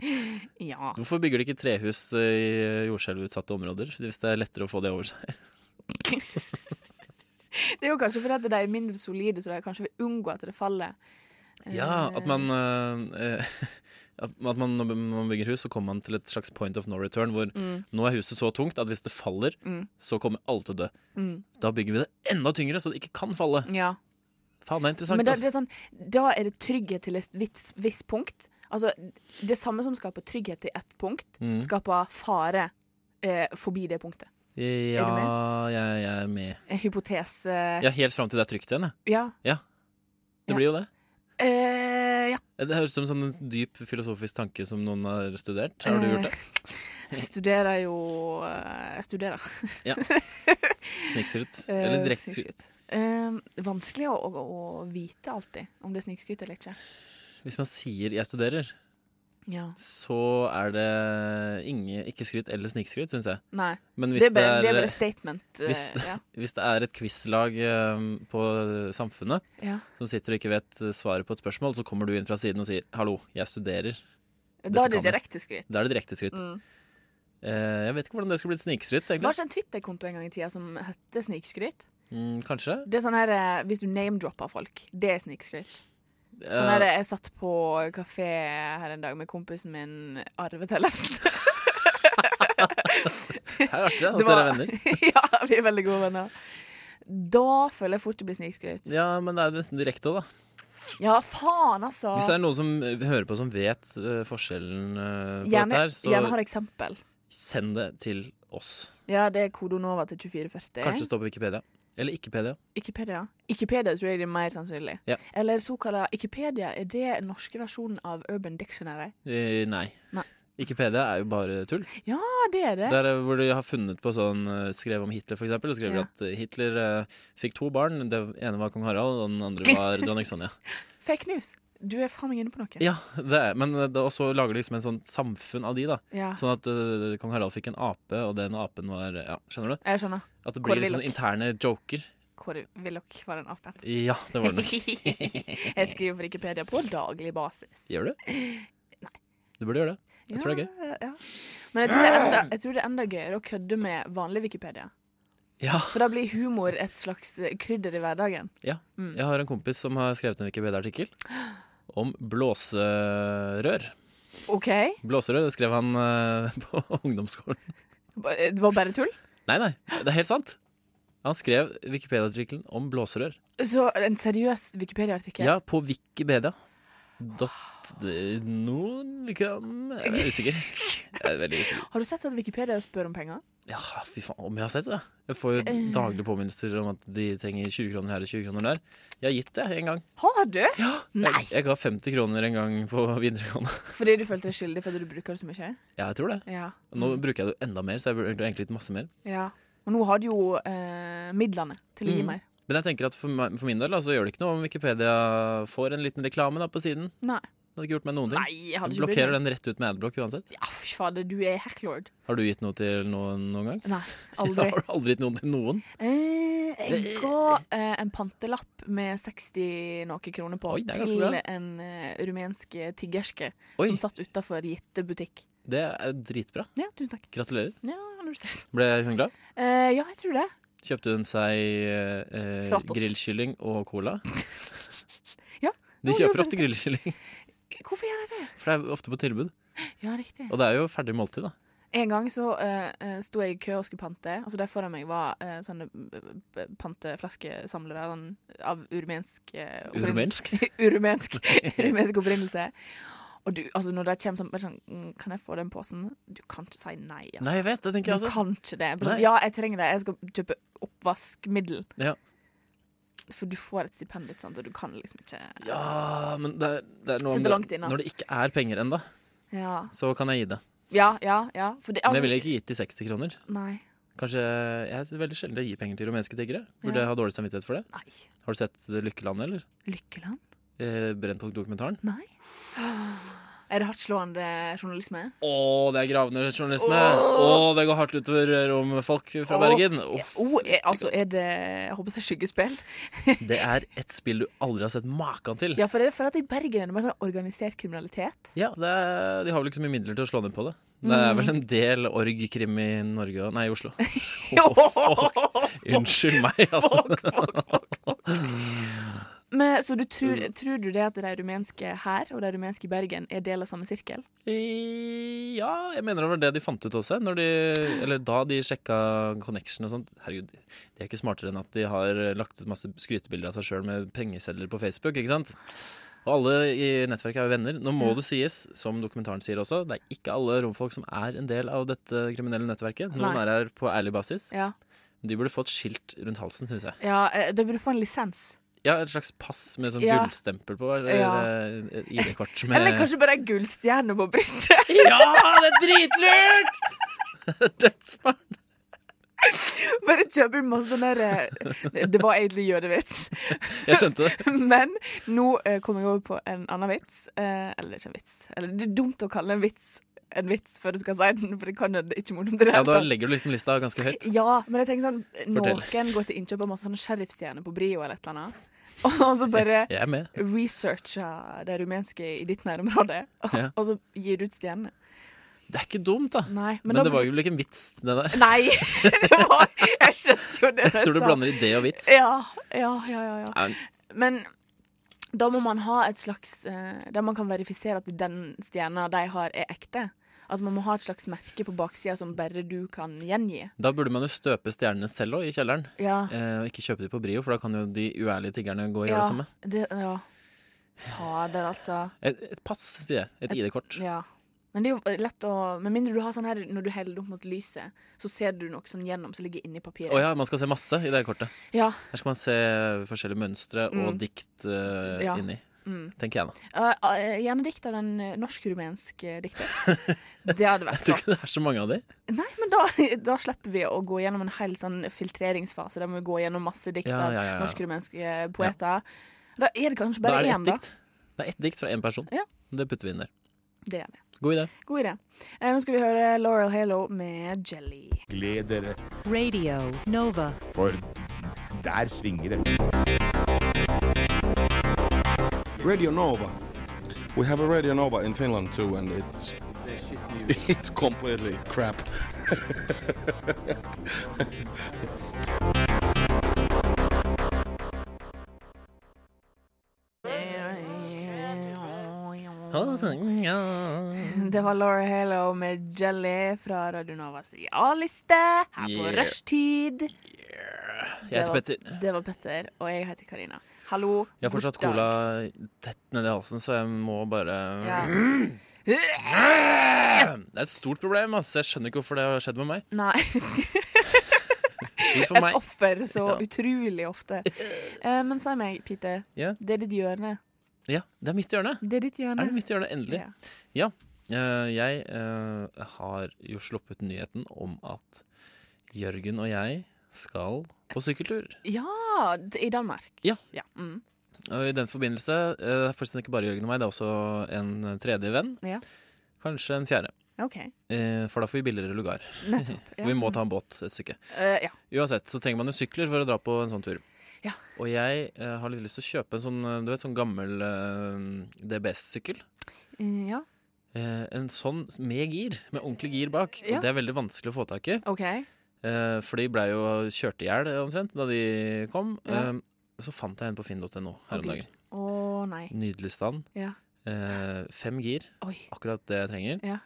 S6: ja.
S7: Hvorfor bygger de ikke trehus eh, i jordskjelvutsatte områder? Hvis det er lettere å få det over seg.
S6: Det er jo kanskje fordi at de er mindre solide, så de kanskje vil unngå at det faller. Eh,
S7: Ja, At man, eh, eh, at at man når man bygger hus, så kommer man til et slags point of no return. Hvor
S6: Mm.
S7: nå er huset så tungt at hvis det faller,
S6: Mm.
S7: så kommer alle til å dø.
S6: Mm.
S7: Da bygger vi det enda tyngre, så det ikke kan falle.
S6: Ja.
S7: Faen, det er interessant.
S6: Men da,
S7: ass.
S6: det er sånn, da er det trygghet til et visst visst punkt. Altså, det samme som skaper trygghet til ett punkt,
S7: Mm.
S6: skaper fare eh, forbi det punktet.
S7: Ja, jeg, jeg er med.
S6: En eh, hypotese Ja.
S7: Ja, Helt fram til det er trygt igjen. jeg. Det
S6: Ja.
S7: blir jo det.
S6: Eh, ja.
S7: Det høres ut som en sånn dyp filosofisk tanke som noen har studert. Har du
S6: Eh.
S7: gjort det?
S6: Jeg studerer jo eh, Jeg studerer.
S7: Snikskryt?
S6: eh,
S7: Eller direkte
S6: snikskryt. Eh, vanskelig å, å, å vite alltid om det er snikskryt eller ikke.
S7: Hvis man sier 'jeg studerer',
S6: Ja.
S7: så er det ingen, ikke skryt eller snikskryt, syns jeg.
S6: Nei.
S7: Men hvis
S6: Det
S7: det,
S6: er bare, det er
S7: er,
S6: bare statement. eh,
S7: hvis-
S6: ja.
S7: hvis det er et quizlag eh, på Samfunnet
S6: Ja.
S7: som sitter og ikke vet eh, svaret på et spørsmål, så kommer du inn fra siden og sier 'hallo, jeg studerer'.
S6: Da er det
S7: kan jeg.
S6: direkte skryt.
S7: Da er det direkte skryt.
S6: Mm.
S7: Eh, jeg vet ikke hvordan det skulle blitt snikskryt,
S6: Det var
S7: egentlig.
S6: ikke en Twitter-konto en gang i tida som hette Snikskryt.
S7: Mm, kanskje?
S6: Det er sånn her, eh, Hvis du name-dropper folk, det er snikskryt. Sånn er det. Jeg satt på kafé her en dag med kompisen min Arve Tellefsen.
S7: Det er artig at
S6: Det
S7: dere er
S6: var-
S7: venner.
S6: ja, vi er veldig gode venner. Da føler jeg fort det blir snikskryt.
S7: Ja, men det er jo nesten direkte òg, da.
S6: Ja, faen, altså!
S7: Hvis det er noen som eh, hører på som vet eh, forskjellen eh, på
S6: Gjerne,
S7: dette her, så
S6: gjerne har eksempel.
S7: send det til oss.
S6: Ja, det er kode Nova til 2440.
S7: Kanskje det står på Wikipedia. Eller Ikkepedia.
S6: Wikipedia. Wikipedia tror jeg det er mer sannsynlig.
S7: Ja.
S6: Eller såkalla Wikipedia, er det den norske versjonen av Urban Dictionary?
S7: Eh, nei.
S6: Nei.
S7: Wikipedia er jo bare tull.
S6: Ja, det er det.
S7: Der eh, hvor de har funnet på sånn eh, Skrev om Hitler, for eksempel. Og skrev de
S6: Ja.
S7: at eh, Hitler eh, fikk to barn. Det ene var kong Harald, og den andre var dronning Sonja.
S6: Fake news. Du er faen meg inne på noe.
S7: Ja, det er, men eh, da- Og så lager de liksom en sånn samfunn av de, da.
S6: Ja,
S7: Sånn at eh, kong Harald fikk en ape, og den apen var Ja, skjønner du?
S6: jeg skjønner.
S7: At det
S6: Kåre
S7: blir liksom
S6: Willoch.
S7: interne joker.
S6: Kåre Willoch var den apen.
S7: Ja, det var det.
S6: jeg skriver på Wikipedia på daglig basis.
S7: Gjør du? Nei. Du burde gjøre det. Jeg tror det er gøy.
S6: Ja. Men jeg tror, det er enda, jeg tror det er enda gøyere å kødde med vanlig Wikipedia.
S7: Ja,
S6: For da blir humor et slags krydder i hverdagen.
S7: ja.
S6: Mm.
S7: Jeg har en kompis som har skrevet en Wikipedia-artikkel om blåserør.
S6: OK?
S7: Blåserør det skrev han eh, på ungdomsskolen.
S6: Ba- eh, Det var bare tull?
S7: Nei, nei, det er helt sant. Han skrev Wikipedia-artikkelen om blåserør.
S6: Så en seriøs Wikipedia-artikkel?
S7: Ja, på Wikipedia. Dot noen kan Jeg er usikker. Jeg er veldig usikker.
S6: Har du sett at Wikipedia spør om penger?
S7: Ja, fy faen, om jeg har sett det? Jeg får jo daglige påminnelser om at de trenger 20 kroner her og 20 kroner der. Jeg har gitt det en gang.
S6: Har du?
S7: Jeg, jeg ga 50 kroner en gang på videregående.
S6: Fordi du følte deg skyldig fordi du bruker det så mye?
S7: Ja, jeg tror det.
S6: Ja.
S7: Nå bruker jeg det jo enda mer, så jeg burde egentlig gitt masse mer.
S6: ja. Og nå har du jo eh, midlene til å gi
S7: Mm.
S6: mer.
S7: Men jeg tenker at for, meg, for min del da, så gjør det ikke noe om Wikipedia får en liten reklame da, på siden.
S6: Nei.
S7: Det hadde ikke gjort meg noen ting.
S6: Nei, jeg hadde
S7: Du
S6: ikke
S7: blokkerer den rett ut med adblock uansett.
S6: Ja, fy fader, du er hacklord.
S7: Har du gitt noe til noen noen gang?
S6: Nei, aldri.
S7: Har du aldri gitt noen til noen?
S6: Eh, jeg ga eh, en pantelapp med 60 noe kroner på
S7: Oi, det er ganske
S6: til
S7: bra.
S6: en eh, rumensk tiggerske
S7: Oi.
S6: som satt utafor gitte butikk.
S7: Det er dritbra.
S6: Ja, tusen takk.
S7: Gratulerer.
S6: Ja, null stress.
S7: Ble hun glad?
S6: Eh, ja, jeg tror det.
S7: Kjøpte hun seg eh, eh,
S6: Stratos.
S7: grillkylling og cola?
S6: Ja. Å,
S7: De
S6: ja,
S7: kjøper
S6: men-
S7: ofte grillkylling,
S6: Hvorfor gjør jeg det?
S7: for det er ofte på tilbud.
S6: Ja, riktig.
S7: Og det er jo ferdig måltid, da.
S6: En gang så eh, eh, sto jeg i kø og skulle pante. Altså Der foran meg var eh, sånne eh, eh, panteflaskesamlere sånn, av urmensk eh, opprinnelse. urmensk, urmensk opprinnelse. Og du, altså når det kommer sånn, bare sånn mm, Kan jeg få den posen? Du kan ikke si nei. Altså.
S7: Nei, jeg vet, det
S6: du
S7: tenker jeg også.
S6: kan ikke det. Bare sånn,
S7: Nei.
S6: ja, jeg trenger det. Jeg skal kjøpe oppvaskmiddel.
S7: Ja.
S6: For du får et stipend, ikke sant, og du kan liksom ikke
S7: Ja, men det er, det er noe om
S6: Sitter langt inne, ass.
S7: Når det ikke er penger ennå,
S6: Ja,
S7: så kan jeg gi det.
S6: ja, ja. ja. For det,
S7: Men jeg
S6: altså,
S7: ville ikke gitt de 60 kroner.
S6: nei.
S7: Kanskje, Jeg er veldig sjelden jeg gir penger til rumenske tiggere. Burde
S6: Ja.
S7: jeg ha dårlig samvittighet for det?
S6: nei.
S7: Har du sett Lykkeland, eller?
S6: Lykkeland?
S7: Eh, Brennpunkt-dokumentaren?
S6: Nei. Er det hardtslående journalisme?
S7: Å, det er gravende journalisme! Å, det går hardt utover romfolk fra
S6: Åh.
S7: Bergen. Uff.
S6: Oh, er, altså, er det Jeg håper det er skyggespill.
S7: Det er et spill du aldri har sett maken til.
S6: Ja, for jeg føler at i Bergen er det mer sånn organisert kriminalitet.
S7: Ja, det er, De har vel ikke så mye midler til å slå ned på det. Det
S6: Mm.
S7: er vel en del org-krim i Norge og Nei, i Oslo. Unnskyld meg, altså.
S6: Men, så du tror,
S7: Mm.
S6: tror du det at de rumenske her og de rumenske i Bergen er del av samme sirkel?
S7: I- Eh, Ja, jeg mener det var det de fant ut også. Når de, eller da de sjekka connection og sånt. Herregud, de er ikke smartere enn at de har lagt ut masse skrytebilder av seg sjøl med pengesedler på Facebook, ikke sant? Og alle i nettverket er jo venner. Nå må det sies, som dokumentaren sier også, det er ikke alle romfolk som er en del av dette kriminelle nettverket. Noen
S6: Nei.
S7: er her på ærlig basis.
S6: Ja.
S7: De burde få et skilt rundt halsen, syns jeg.
S6: ja eh, da burde du få en lisens.
S7: Ja, Et slags pass med sånn
S6: Ja.
S7: gullstempel på. Eller
S6: Ja.
S7: eh, et ID-kort med
S6: Eller kanskje bare en gullstjerne på brystet.
S7: Ja, det er dritlurt! Dødsbarn.
S6: Bare kjøper du masse sånne der- eh, Det var egentlig jødevits.
S7: Jeg skjønte det.
S6: Men nå eh, kom jeg over på en annen vits. Eh, eller ikke en vits. Eller, det er dumt å kalle en vits en vits før du skal si den, for det kan jo det er ikke morsomt. i det
S7: Ja,
S6: hele
S7: Da
S6: tatt.
S7: legger du liksom lista ganske høyt.
S6: ja, men jeg tenker sånn
S7: Fortell.
S6: Noen går til innkjøp av masse sånne sheriffstjerner på Brio eller et eller annet, og så bare
S7: Jeg er med.
S6: researcher det rumenske i ditt nærområde, og,
S7: Ja.
S6: og så gir du ut stjernene.
S7: Det er ikke dumt, da.
S6: Nei, men,
S7: Men,
S6: da
S7: det var
S6: blir-
S7: jo ikke en vits, det der.
S6: Nei! det var, jeg skjønte jo det.
S7: Jeg tror du blander idé og vits.
S6: Ja, ja, ja. ja, ja.
S7: Nei,
S6: Men Da må man ha et slags eh, Der man kan verifisere at den stjerna de har, er ekte. At man må ha et slags merke på baksida som bare du kan gjengi.
S7: Da burde man jo støpe stjernene selv òg, i kjelleren.
S6: Ja.
S7: Eh, og ikke kjøpe de på Brio, for da kan jo de uærlige tiggerne gå og gjøre
S6: Ja,
S7: det samme.
S6: det, ja. Fader, altså.
S7: Et, et pass, sier jeg. Et ID-kort.
S6: Ja. Men det er jo eh, lett å Med mindre du har sånn her når du heller det opp mot lyset, så ser du noe sånn gjennom som ligger inni papiret.
S7: Å ja, man skal se masse i det kortet.
S6: Ja.
S7: Her skal man se forskjellige mønstre og
S6: Mm.
S7: dikt eh,
S6: Ja.
S7: inni.
S6: Mm.
S7: Tenker jeg, da.
S6: Eh, eh, gjerne dikt av en eh, norsk-rumensk eh, dikter. Det hadde
S7: Jeg
S6: vært
S7: tror ikke det
S6: flott.
S7: er så mange av de.
S6: Nei, men da, da slipper vi å gå gjennom en hel sånn filtreringsfase der vi går gjennom masse dikt
S7: Ja,
S6: av
S7: ja, ja, ja.
S6: norsk-rumenske poeter. Da er det kanskje
S7: Da
S6: bare
S7: er det
S6: én,
S7: ett
S6: da.
S7: dikt. Det er ett dikt fra én person.
S6: Ja.
S7: Det putter vi inn der.
S6: Det gjør vi.
S7: God idé.
S6: God idé. Eh, nå skal vi høre Laurel Halo med 'Jelly'.
S10: Gled dere,
S11: Radio Nova.
S10: for der svinger det.
S2: Radio Nova. We have a Radio Nova in Finland too, and it's it's completely crap.
S6: Det var Laura Halo med 'Jelly' fra Radio Novas A-liste her på
S7: Yeah.
S6: rushtid.
S7: Jeg heter Petter.
S6: Det var Petter, og jeg heter Karina. Hallo.
S7: Jeg har fortsatt
S6: god dag.
S7: cola tett nedi halsen, så jeg må bare
S6: Ja.
S7: Det er et stort problem, ass. Jeg skjønner ikke hvorfor det har skjedd med meg.
S6: Nei.
S7: Hvorfor
S6: Et
S7: meg?
S6: offer så
S7: Ja.
S6: utrolig ofte. Eh, men si meg, Peter.
S7: Ja.
S6: Det er ditt hjørne.
S7: Ja, det er mitt hjørne.
S6: Det er ditt hjørne.
S7: Er det mitt hjørne? Endelig. Ja. eh, jeg eh, har jo sluppet nyheten om at Jørgen og jeg skal på sykkeltur.
S6: Ja, Ah, d- i Danmark.
S7: Ja.
S6: Mm.
S7: Og i den forbindelse eh, Det er forresten ikke bare Jørgen og meg, det er også en tredje venn.
S6: Ja.
S7: Kanskje en fjerde.
S6: OK.
S7: Eh, For da får vi billigere lugar.
S6: Nettopp, ja.
S7: For vi må ta en båt et stykke.
S6: Eh, ja.
S7: Uansett så trenger man jo sykler for å dra på en sånn tur.
S6: Ja.
S7: Og jeg eh, har litt lyst til å kjøpe en sånn, eh, du vet, sånn gammel eh, DBS-sykkel.
S6: Eh, ja.
S7: Eh, en sånn med gir, med ordentlig gir bak.
S6: Ja.
S7: Og det er veldig vanskelig å få tak i.
S6: OK.
S7: Eh, for de blei jo kjørt i hjel eh, omtrent da de kom.
S6: Ja.
S7: Eh, så fant jeg en på finn.no
S6: Å,
S7: her om
S6: Gud.
S7: dagen.
S6: Å nei.
S7: Nydelig stand.
S6: Ja.
S7: Eh, fem gir.
S6: Oi.
S7: Akkurat det jeg trenger.
S6: Ja.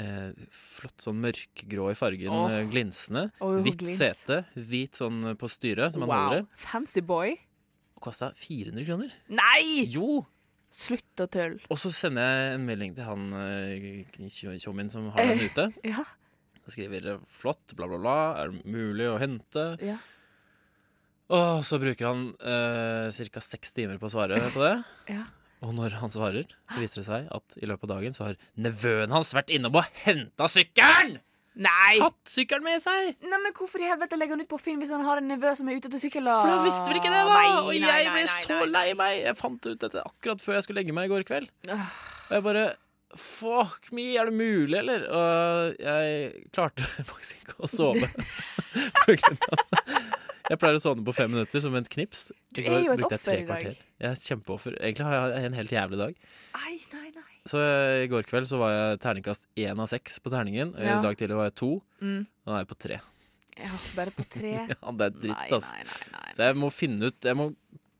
S7: Eh, flott sånn mørkegrå i fargen,
S6: Åh.
S7: eh, glinsende.
S6: Åh,
S7: Hvitt
S6: glins.
S7: sete. Hvit sånn på styret som man holder i.
S6: Wow. Fancy boy.
S7: Kosta 400 kroner.
S6: Nei!
S7: Jo!
S6: Slutt å tulle.
S7: Og så sender jeg en melding til han eh, tjommien som har
S6: Eh.
S7: den ute.
S6: Ja.
S7: Jeg skriver eh, 'flott', bla, bla, bla. Er det mulig å hente?
S6: Ja.
S7: Og så bruker han uh, ca. seks timer på å svare på det.
S6: Ja.
S7: Og når han svarer, så viser det seg at i løpet av dagen så har nevøen hans vært innom og henta sykkelen!
S6: Nei!
S7: Tatt sykkelen med seg!
S6: Nei, men Hvorfor i helvete legger han ut på Finn hvis han har en nevø som er ute etter sykkel?
S7: For han visste vel ikke det, da!
S6: Nei,
S7: og jeg
S6: nei, nei,
S7: ble
S6: nei,
S7: så
S6: nei.
S7: lei meg. Jeg fant ut dette akkurat før jeg skulle legge meg i går kveld. Og jeg bare Fuck me, er det mulig, eller? Og jeg klarte faktisk ikke å sove. På grunn av- jeg pleier å sovne på fem minutter som et knips.
S6: Du
S7: går
S6: er jo et
S7: brukte jeg tre
S6: offer i dag.
S7: kvarter. Jeg er et kjempeoffer. Egentlig har jeg en helt jævlig dag.
S6: Nei, nei, nei.
S7: Så eh, i går kveld så var jeg terningkast én av seks på terningen. og
S6: Ja.
S7: I dag tidlig var jeg to.
S6: Mm.
S7: Nå er jeg på tre.
S6: Ja, bare på tre.
S7: Ja, det er dritt,
S6: Nei,
S7: ass.
S6: nei, nei, nei.
S7: Så jeg må finne ut Jeg må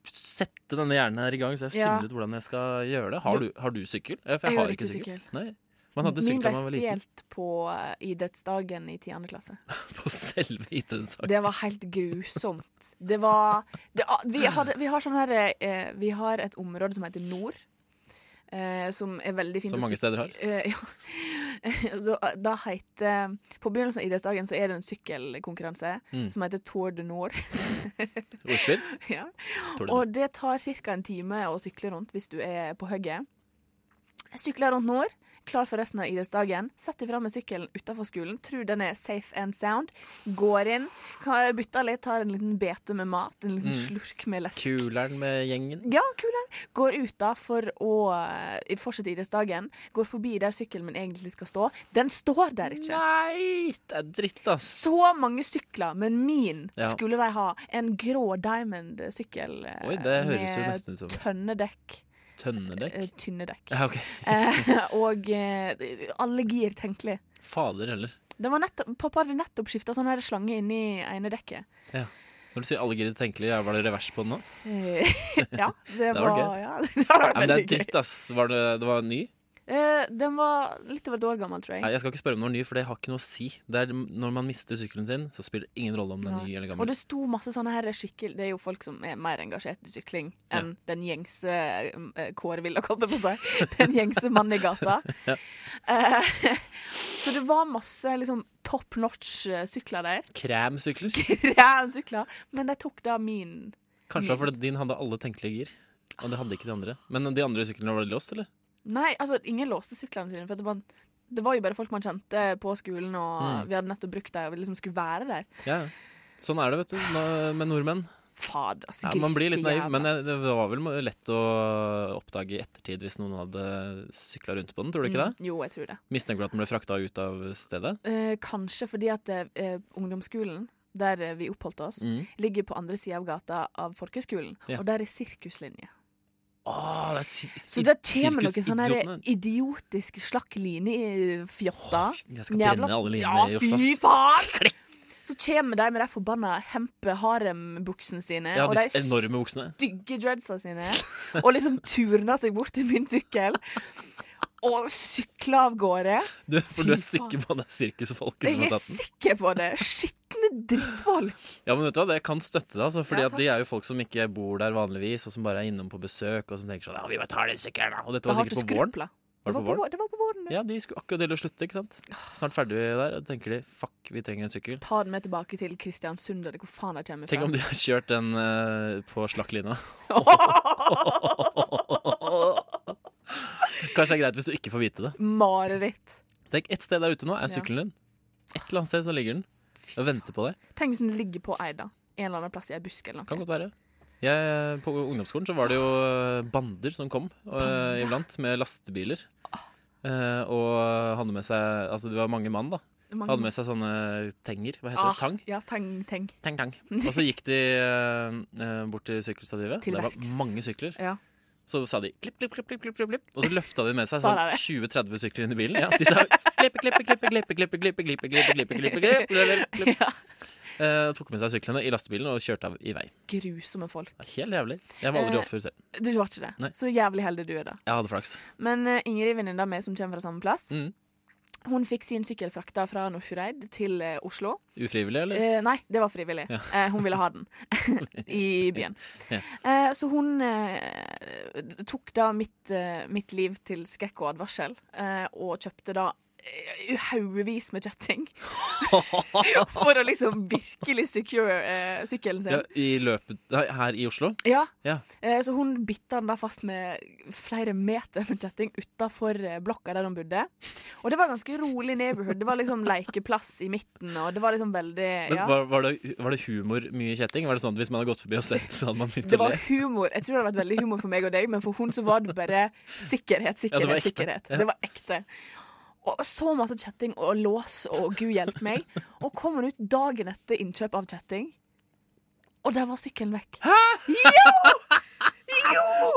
S7: sette denne hjernen her i gang, så jeg
S6: Ja.
S7: finner ut hvordan jeg skal gjøre det. Har du, har du sykkel? Eh, For jeg,
S6: Jeg
S7: har
S6: har
S7: ikke
S6: ikke
S7: sykkel.
S6: sykkel.
S7: Nei. Man hadde
S6: Min
S7: sykkel da
S6: ble
S7: man var liten,
S6: stjålet på eh, idrettsdagen i 10. klasse.
S7: på selve idrettssaken.
S6: Det var helt grusomt. Det var det, ah, vi, hadde, vi har sånn her eh, Vi har et område som heter Nord. Eh, som er veldig fint
S7: Som mange steder har.
S6: Eh, ja. da, da heter eh, På begynnelsen av idrettsdagen så er det en sykkelkonkurranse
S7: Mm.
S6: som heter Tour de Nord.
S7: Ordspill?
S6: ja.
S7: Tour de
S6: Og det tar ca. en time å sykle rundt hvis du er på hugget. Jeg sykler rundt nord, klar for resten av idrettsdagen. Setter fra meg sykkelen utafor skolen, tror den er safe and sound. Går inn, kan- bytter litt, tar en liten bete med mat, en liten
S7: Mm.
S6: slurk med lesk.
S7: Kuleren med gjengen.
S6: Ja, kuleren. Går ut da for å eh, fortsette idrettsdagen. Går forbi der sykkelen min egentlig skal stå. Den står der ikke.
S7: Nei, det er dritt, ass.
S6: Så mange sykler, men min
S7: Ja.
S6: skulle de ha. En grå diamond-sykkel eh,
S7: Oi, det høres jo nesten ut som
S6: tønne dekk.
S7: tønnedekk.
S6: Eh, Tynne dekk.
S7: Ja, ok.
S6: Eh, og eh, alle gir tenkelig.
S7: Fader heller.
S6: Det var nettopp, pappa hadde nettopp skifta sånn her slange inni ene dekket.
S7: Ja. Når du sier alle greier tenkelig, ja, var det revers på den nå?
S6: Eh, ja, det
S7: Det var
S6: var,
S7: gøy.
S6: ja, det var
S7: Ja, men det
S6: veldig
S7: er
S6: gøy.
S7: dritt, ass. Var det, det var ny?
S6: Eh, den var litt over et år gammel, tror jeg.
S7: Nei, jeg skal ikke spørre om den var ny, for det har ikke noe å si. Det er Når man mister sykkelen sin, så spiller det ingen rolle om den er
S6: Nei.
S7: ny eller
S6: Og
S7: gammel.
S6: det sto masse sånne her skikkel Det er jo folk som er mer engasjert i sykling enn den gjengse eh, Kåre Willoch, holdt jeg på å si. Den gjengse mannen i gata.
S7: Ja.
S6: Eh, så det var masse liksom top notch eh, sykler der.
S7: Kremsykler.
S6: Kremsykler. Men de tok da min.
S7: Kanskje det var fordi din hadde alle tenkelige gir. Og det hadde ikke de andre. Men de andre syklene var låst, eller?
S6: Nei, altså, ingen låste syklene sine. For det, var- det var jo bare folk man kjente på skolen, og
S7: Mm.
S6: vi hadde nettopp brukt dem, og vi liksom skulle være der.
S7: Ja, ja. sånn er det, vet du, nå- med nordmenn.
S6: Fader, altså,
S7: Ja, man blir litt
S6: griske jævla.
S7: naiv, men eh, jeg- det var vel lett å oppdage i ettertid hvis noen hadde sykla rundt på den, tror du ikke det?
S6: Mm, jo, jeg tror det.
S7: Mistenker du at den ble frakta ut av stedet?
S6: Eh, kanskje fordi at eh, ungdomsskolen, der eh, vi oppholdt oss,
S7: Mm.
S6: ligger på andre sida av gata av folkehøgskolen,
S7: Ja.
S6: og der er sirkuslinje.
S7: Åh, det er si
S6: Så der kommer noen sånne her
S7: sirkusidiotene.
S6: idiotiske slakk linefjotter.
S7: jeg skal
S6: Jævla-
S7: brenne alle linene
S6: ja,
S7: i Oslo,
S6: Fy
S7: ass.
S6: faen! Så kommer de med de forbanna hempe-harem-buksene sine.
S7: Ja,
S6: og
S7: disse
S6: de
S7: enorme buksene.
S6: stygge dreadsa sine og liksom turna seg bort til min sykkel og sykla av gårde.
S7: Du, for du er
S6: Fy faen.
S7: sikker på at det er sirkusfolket som
S6: Jeg
S7: har
S6: er
S7: tatt den?
S6: sikker på det. Skitne drittfolk.
S7: Ja, men vet du hva, det kan støtte deg, altså, fordi
S6: Ja,
S7: at de er jo folk som ikke bor der vanligvis, og som bare er innom på besøk, og som tenker sånn, ja, vi bare tar den sykkelen, da. Og dette
S6: Da
S7: var
S6: har
S7: sikkert
S6: du
S7: på våren.
S6: skrupla.
S7: Var det på våren?
S6: Det var på våren.
S7: Ja, de skulle akkurat dele å slutte, ikke sant? Snart ferdig der, og da tenker de, fuck, vi trenger en sykkel.
S6: Ta den med tilbake til Kristiansund, eller hvor faen jeg kommer fra.
S7: Tenk om de har kjørt den eh, på slakklina. Kanskje det er greit hvis du ikke får vite det.
S6: Mareritt.
S7: Tenk, et sted der ute nå er
S6: Ja.
S7: sykkelen din. Et eller annet sted så ligger den og venter på deg.
S6: Tenk hvis den ligger på Eida. En eller annen plass i ei busk eller noe.
S7: Kan godt være. Jeg, på ungdomsskolen så var det jo bander som kom eh, iblant med lastebiler.
S6: Ah.
S7: Eh, og hadde med seg Altså, det var mange mann, da.
S6: Mange
S7: hadde
S6: mann.
S7: med seg sånne tenger. Hva heter det? Tang?
S6: Ah, Ja, tang, tang.
S7: Tang, tang. Og så gikk de eh, eh, bort til sykkelstativet.
S6: Til
S7: det var
S6: verks.
S7: mange sykler.
S6: Ja.
S7: Så sa de klipp, klipp, klipp, klipp, klipp, klipp, klipp. Og så løfta de med seg
S6: Sånn
S7: sånn
S6: er
S7: 20-30 sykler inn i bilen. Ja, de sa klippe, klippe, klippe, klippe, klippe, klippe, klippe, klippe, klippe, klippe, klippe, klippe, klippe. Eh, tok med seg syklene i lastebilen og kjørte av i vei.
S6: Grusomme folk.
S7: Det var Helt jævlig. Jeg var
S6: Eh,
S7: aldri offer selv.
S6: Du var ikke det.
S7: Nei.
S6: Så jævlig heldig du er, da.
S7: Jeg hadde flaks.
S6: Men eh, Ingrid, venninna mi som kommer fra samme plass,
S7: Mm.
S6: hun fikk sin sykkel frakta fra Nordfjordeid til eh, Oslo.
S7: Ufrivillig, eller?
S6: Eh, nei, det var frivillig.
S7: Ja.
S6: Eh, hun ville ha den i byen.
S7: Ja.
S6: Eh, så hun eh, tok da mitt, eh, mitt liv til skrekk og advarsel, eh, og kjøpte da eh, haugevis med kjetting. For å liksom virkelig secure eh, sykkelen
S7: Ja,
S6: sin.
S7: I løpet nei, Her i Oslo?
S6: Ja.
S7: Ja.
S6: Eh, så hun bitta den da fast med flere meter med kjetting utafor eh, blokka der hun bodde. Og det var ganske rolig neighborhood. Det var liksom lekeplass i midten, og det var liksom veldig
S7: Men
S6: ja.
S7: var, var, det, var det humor mye kjetting? Var det sånn at hvis man hadde gått forbi og sett, så hadde man begynt
S6: Det
S7: å
S6: var
S7: le?
S6: humor. Jeg tror det hadde vært veldig humor for meg og deg, men for hun så var det bare sikkerhet,
S7: Ja, det
S6: sikkerhet,
S7: var ekte.
S6: sikkerhet.
S7: Ja.
S6: Det var ekte. Og så masse kjetting og lås og gud hjelpe meg. Og kom hun ut dagen etter innkjøp av kjetting, og der var sykkelen vekk. Hæ?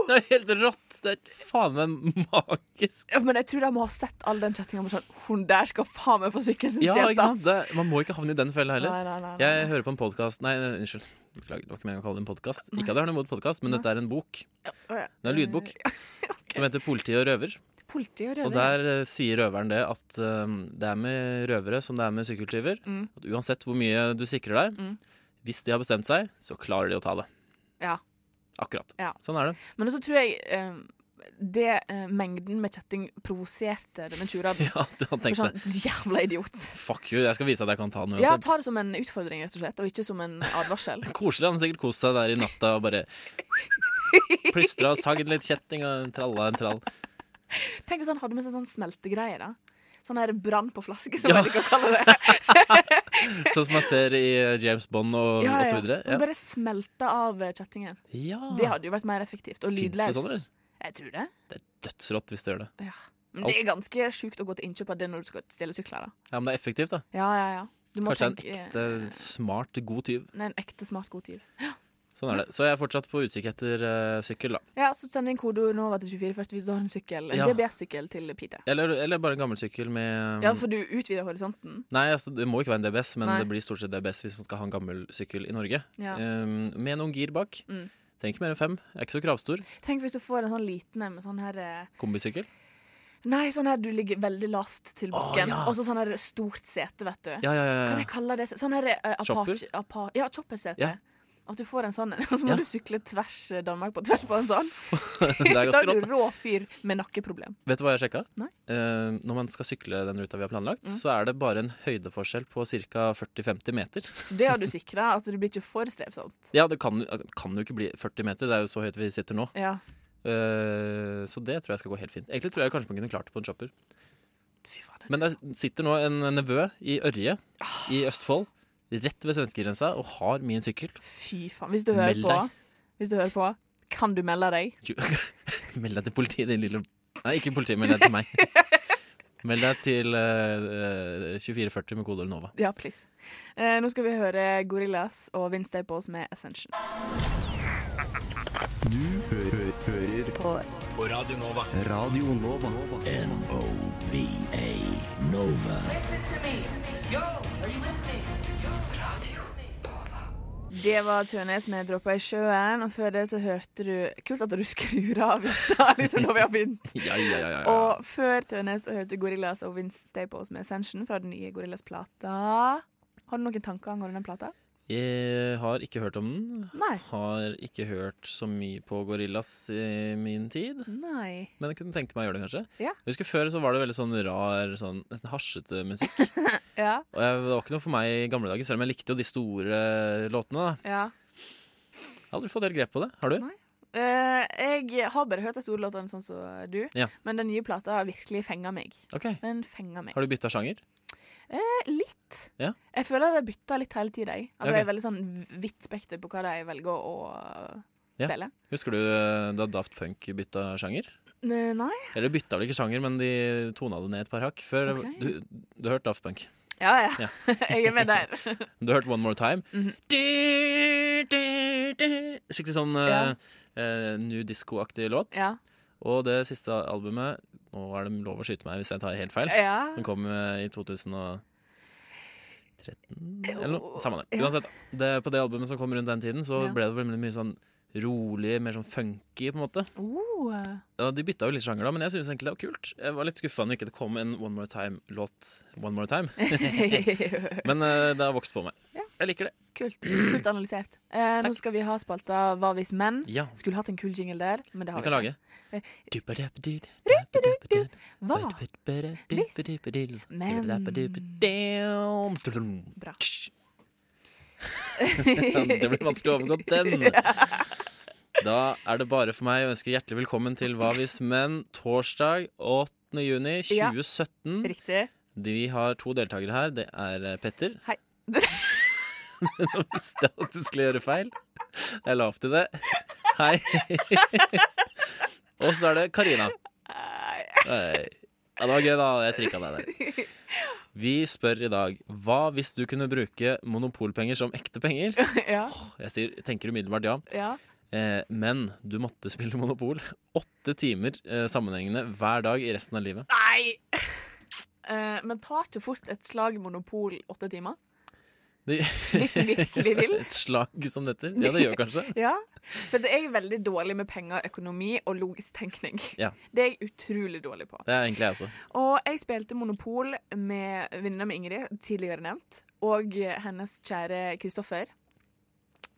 S7: Det er helt rått! Det er faen meg magisk.
S6: Ja, men jeg tror de må ha sett all den kjettinga og bare sånn Hun der skal faen meg få sykkelen sin
S7: Ja,
S6: stjålet,
S7: ikke sant?
S6: ass.
S7: Det, man må ikke havne i den fella heller.
S6: Nei, nei, nei, nei,
S7: jeg
S6: nei.
S7: hører på en podkast Nei, nei, unnskyld. Beklager, det var ikke meningen å kalle det en podkast. Ikke at jeg har noe imot podkast, men dette er en bok.
S6: Å, ja.
S7: Det er en lydbok som heter 'Politi og røver'.
S6: Eh, Politiet og
S7: Og
S6: røvere.
S7: der eh, sier røveren det at eh, det er med røvere som det er med sykkeltyver.
S6: Mm.
S7: At uansett hvor mye du sikrer deg,
S6: Mm.
S7: hvis de har bestemt seg, så klarer de å ta det.
S6: Ja.
S7: Akkurat.
S6: Ja.
S7: Sånn er det.
S6: Men så tror jeg eh, det eh, mengden med kjetting provoserte denne tjuren.
S7: Ja, han
S6: For
S7: tenkte
S6: sånn, Jævla idiot.
S7: fuck you, jeg skal vise at jeg kan ta den
S6: Ja,
S7: uansett.
S6: ta det som en utfordring, rett og slett, og ikke som en advarsel.
S7: Koselig. Han har sikkert kost seg der i natta og bare plystra og sagd litt kjetting og tralla en trall.
S6: Tenk hvis han hadde med seg sånn smeltegreie, da. Sånn her brann på flaske, som
S7: Ja.
S6: jeg liker å kalle det.
S7: Sånn som man ser i James Bond og,
S6: Ja,
S7: og
S6: ja.
S7: så videre.
S6: Og så bare smelta av eh, kjettingen.
S7: Ja.
S6: Det hadde jo vært mer effektivt. Og
S7: Finnes det
S6: lydløst.
S7: sånn, eller?
S6: jeg tror det.
S7: Dødsrått hvis det gjør det.
S6: Ja. Men det er ganske sjukt å gå til innkjøp av det når du skal stjele sykler, da.
S7: Ja, Men det er effektivt, da.
S6: Ja, ja, ja. Du må
S7: Kanskje
S6: tenke
S7: en ekte smart, god tyv
S6: Nei, en ekte smart god tyv.
S7: Sånn er det. Så jeg er fortsatt på utkikk etter eh, sykkel, da.
S6: Ja, så send inn kode Nova til 2440 hvis du har en sykkel. En
S7: Ja.
S6: DBS-sykkel til Peter.
S7: Eller, eller bare en gammel sykkel med
S6: Ja, for du utvider horisonten.
S7: Nei, altså, det må ikke være en DBS, men
S6: Nei.
S7: det blir stort sett DBS hvis man skal ha en gammel sykkel i Norge.
S6: Ja.
S7: Ehm, med noen gir bak.
S6: Mm.
S7: Trenger ikke mer enn fem. Jeg er ikke så kravstor.
S6: Tenk hvis du får en sånn liten en med sånn her eh,
S7: Kombisykkel.
S6: Nei, sånn her du ligger veldig lavt til bakken.
S7: ja.
S6: Og så sånn her stort sete, vet du.
S7: Ja, ja, ja, ja.
S6: Kan jeg kalle det se- sånn her eh,
S7: Chopper?
S6: Apache apa, Ja, chopper-sete.
S7: Ja.
S6: At du får en sånn en, og så må
S7: Ja.
S6: du sykle tvers eh, Danmark på tvers på en sånn.
S7: det er
S6: da
S7: ganske
S6: er du
S7: rått. da.
S6: rå fyr med nakkeproblem.
S7: Vet du hva jeg sjekka?
S6: Nei. Mm.
S7: Ehm, når man skal sykle den ruta vi har planlagt, så er det bare en høydeforskjell på ca. 40-50 meter.
S6: Så det har du sikra. Altså, det blir ikke for strevsomt.
S7: Ja, det kan, kan jo ikke bli 40 meter, det er jo så høyt vi sitter nå.
S6: Ja.
S7: Eh, så det tror jeg skal gå helt fint. Egentlig tror jeg kanskje man kunne klart det på en chopper. Men det sitter nå en nevø i Ørje i Østfold, rett ved svenskegrensa, og har min sykkel.
S6: Fy faen. Hvis du hører
S7: Meld
S6: på,
S7: deg.
S6: hvis du hører på, kan du melde deg?
S7: Tju- Meld deg til politiet, din lille Nei, ikke politiet, meld deg til meg. Meld deg til eh, eh, 2440 med kode Nova.
S6: Ja, please. Eh, nå skal vi høre Gorillas og Vince Staples med Ascension.
S12: Du hører, hører på
S1: På Radio Nova.
S12: Radio Nova. N-O-V-A Nova.
S6: Det var Tønes med 'Droppa i sjøen', og før det så hørte du Kult at du skrur av vifta liksom når vi har begynt.
S7: Ja, ja, ja, ja, ja.
S6: Og før Tønes så hørte du Gorillas og Vince Staples med 'Ascension' fra den nye Gorillas-plata. Har du noen tanker angående den plata?
S7: Jeg har ikke hørt om den.
S6: Nei.
S7: Har ikke hørt så mye på Gorillas i min tid.
S6: Nei.
S7: Men jeg kunne tenke meg å gjøre det, kanskje.
S6: Ja.
S7: Jeg husker Før så var det veldig sånn rar, sånn, nesten hasjete musikk.
S6: Ja.
S7: Og jeg, det var ikke noe for meg i gamle dager, selv om jeg likte jo de store låtene. da
S6: ja.
S7: Jeg har aldri fått helt grep på det. Har du?
S6: Eh, jeg har bare hørt de store låtene sånn som du,
S7: Ja.
S6: men den nye plata har virkelig fenga meg.
S7: Ok.
S6: Den fenger meg.
S7: Har du bytta sjanger?
S6: Eh, litt.
S7: Ja.
S6: Jeg føler at jeg bytter litt hele tida. At
S7: Ja,
S6: Det
S7: ok.
S6: er veldig sånn vidt spekter på hva de velger å øh,
S7: Ja.
S6: spille.
S7: Husker du eh, da Daft Punk bytta sjanger?
S6: Ne- Nei?
S7: Eller bytta vel ikke sjanger, men de tona det ned et par hakk. Før
S6: Ok.
S7: du, du har hørt Daft Punk.
S6: Ja ja. jeg er med der.
S7: Du har hørt One More Time.
S6: Mhm.
S7: Skikkelig sånn
S6: Ja.
S7: eh, eh, new disco-aktig låt.
S6: Ja.
S7: Og det siste albumet Nå er det lov å skyte meg hvis jeg tar helt feil.
S6: Ja.
S7: Den kom eh, i 2013 eller noe. Samme det.
S6: Ja.
S7: Uansett, det, på det albumet som kom rundt den tiden, så
S6: Ja.
S7: ble det veldig mye sånn rolig, mer sånn funky, på en måte.
S6: Oh,
S7: Ja, De bytta jo litt sjanger, da, men jeg synes egentlig det var kult. Jeg var litt skuffa når ikke det kom en One More Time-låt. One More Time
S6: Oh.
S7: Men eh, det har vokst på meg. Jeg liker det.
S6: kult. kult analysert. Eh, nå skal vi ha spalta Hva hvis menn.
S7: Ja.
S6: Skulle hatt en kul jingle der, men det har
S7: Vi kan lage.
S6: Eh,
S7: Hva?
S6: Bra.
S7: Det blir vanskelig å overgå den. Da er det bare for meg å ønske hjertelig velkommen til Hva hvis menn torsdag 8. juni
S6: Ja.
S7: 2017.
S6: Riktig.
S7: De, vi har to deltakere her. Det er eh, Petter.
S6: Hei.
S7: Nå visste jeg at du skulle gjøre feil. Jeg la opp til det. Hei. Og så er det Karina. Hei. Ja, det var gøy, da. Jeg trikka deg der. Vi spør i dag hva hvis du kunne bruke monopolpenger som ekte penger?
S6: ja.
S7: Jeg sier, tenker umiddelbart ja.
S6: Ja.
S7: Eh, men du måtte spille Monopol åtte timer eh, sammenhengende hver dag i resten av livet.
S6: Nei! Eh, men tar ikke fort et slag monopol åtte timer?
S7: Det-
S6: Hvis du virkelig vil.
S7: Et slag som dette? Ja, det gjør kanskje.
S6: Ja, For det er jeg veldig dårlig med penger, økonomi og logisk tenkning.
S7: Ja,
S6: Det er jeg utrolig dårlig på.
S7: Det er egentlig jeg også.
S6: Og jeg spilte Monopol med venninna mi Ingrid, tidligere nevnt, og hennes kjære Kristoffer.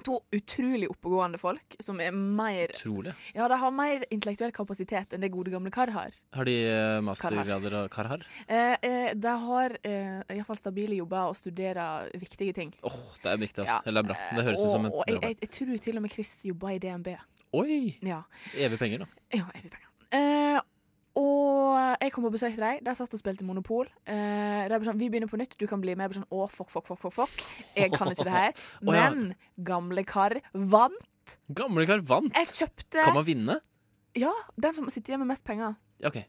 S6: To utrolig oppegående folk som er mer
S7: Utrolig.
S6: Ja, de har mer intellektuell kapasitet enn det gode gamle kar har.
S7: Har de eh, mastergrader av Karhar?
S6: Eh, eh, de har eh, iallfall stabile jobber og studerer viktige ting.
S7: Åh, det er viktig, ass.
S6: Ja,
S7: Eller det er bra. Det høres ut som et
S6: og, og jeg,
S7: bra
S6: jeg, jeg tror til og med Chris jobber i DNB.
S7: Oi!
S6: Ja.
S7: Evige penger, da.
S6: Ja, jeg vil penger. Eh, og jeg kom og besøkte dem. De satt og spilte Monopol. Eh, de ble sånn, vi begynner på nytt, du kan bli med. Jeg ble sånn, å, fuck, fuck, fuck, fuck, fuck. Jeg kan ikke det her.
S7: Å, ja.
S6: Men gamle kar vant.
S7: Gamle kar vant!
S6: Jeg kjøpte
S7: Kan man vinne?
S6: Ja, den som sitter igjen med mest penger.
S7: Ja, OK.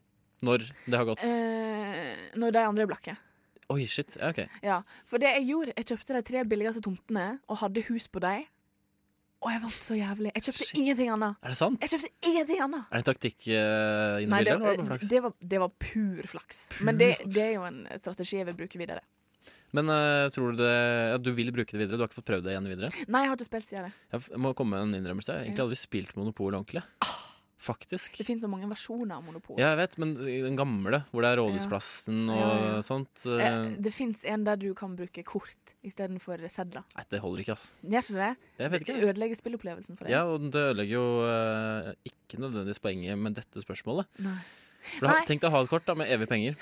S7: Når det har gått.
S6: Eh, når de andre er blakke.
S7: Oi, shit. Ja, OK.
S6: Ja, for det jeg gjorde, jeg kjøpte de tre billigste tomtene og hadde hus på dem. Og jeg vant så jævlig. Jeg kjøpte ingenting annet.
S7: Er det sant?
S6: Jeg kjøpte ingenting annet.
S7: Er det taktikk uh, inni
S6: Nei, det,
S7: bildet? eller var det bare flaks?
S6: det, var, det var pur flaks. Men det, det er jo en strategi jeg vil bruke videre.
S7: Men eh, tror du det ja, Du vil bruke det videre? Du har ikke fått prøvd det igjen videre?
S6: Nei, jeg har ikke spilt siden det.
S7: Jeg f- må komme med en innrømmelse. Jeg har egentlig aldri spilt Monopol ordentlig.
S6: Ah!
S7: Faktisk.
S6: Det finnes så mange versjoner av Monopol.
S7: Ja, jeg vet, men i den gamle, hvor det er Rådhusplassen og
S6: Ja, ja, ja.
S7: sånt eh,
S6: Eh, Det fins en der du kan bruke kort istedenfor sedler.
S7: Nei, det holder ikke, ass.
S6: Gjør ikke det?
S7: Jeg vet ikke.
S6: Det ødelegger spillopplevelsen for deg.
S7: Ja, og det ødelegger jo eh, ikke nødvendigvis poenget med dette spørsmålet.
S6: Nei.
S7: For da,
S6: Nei.
S7: Tenk deg å ha et kort da, med evige penger.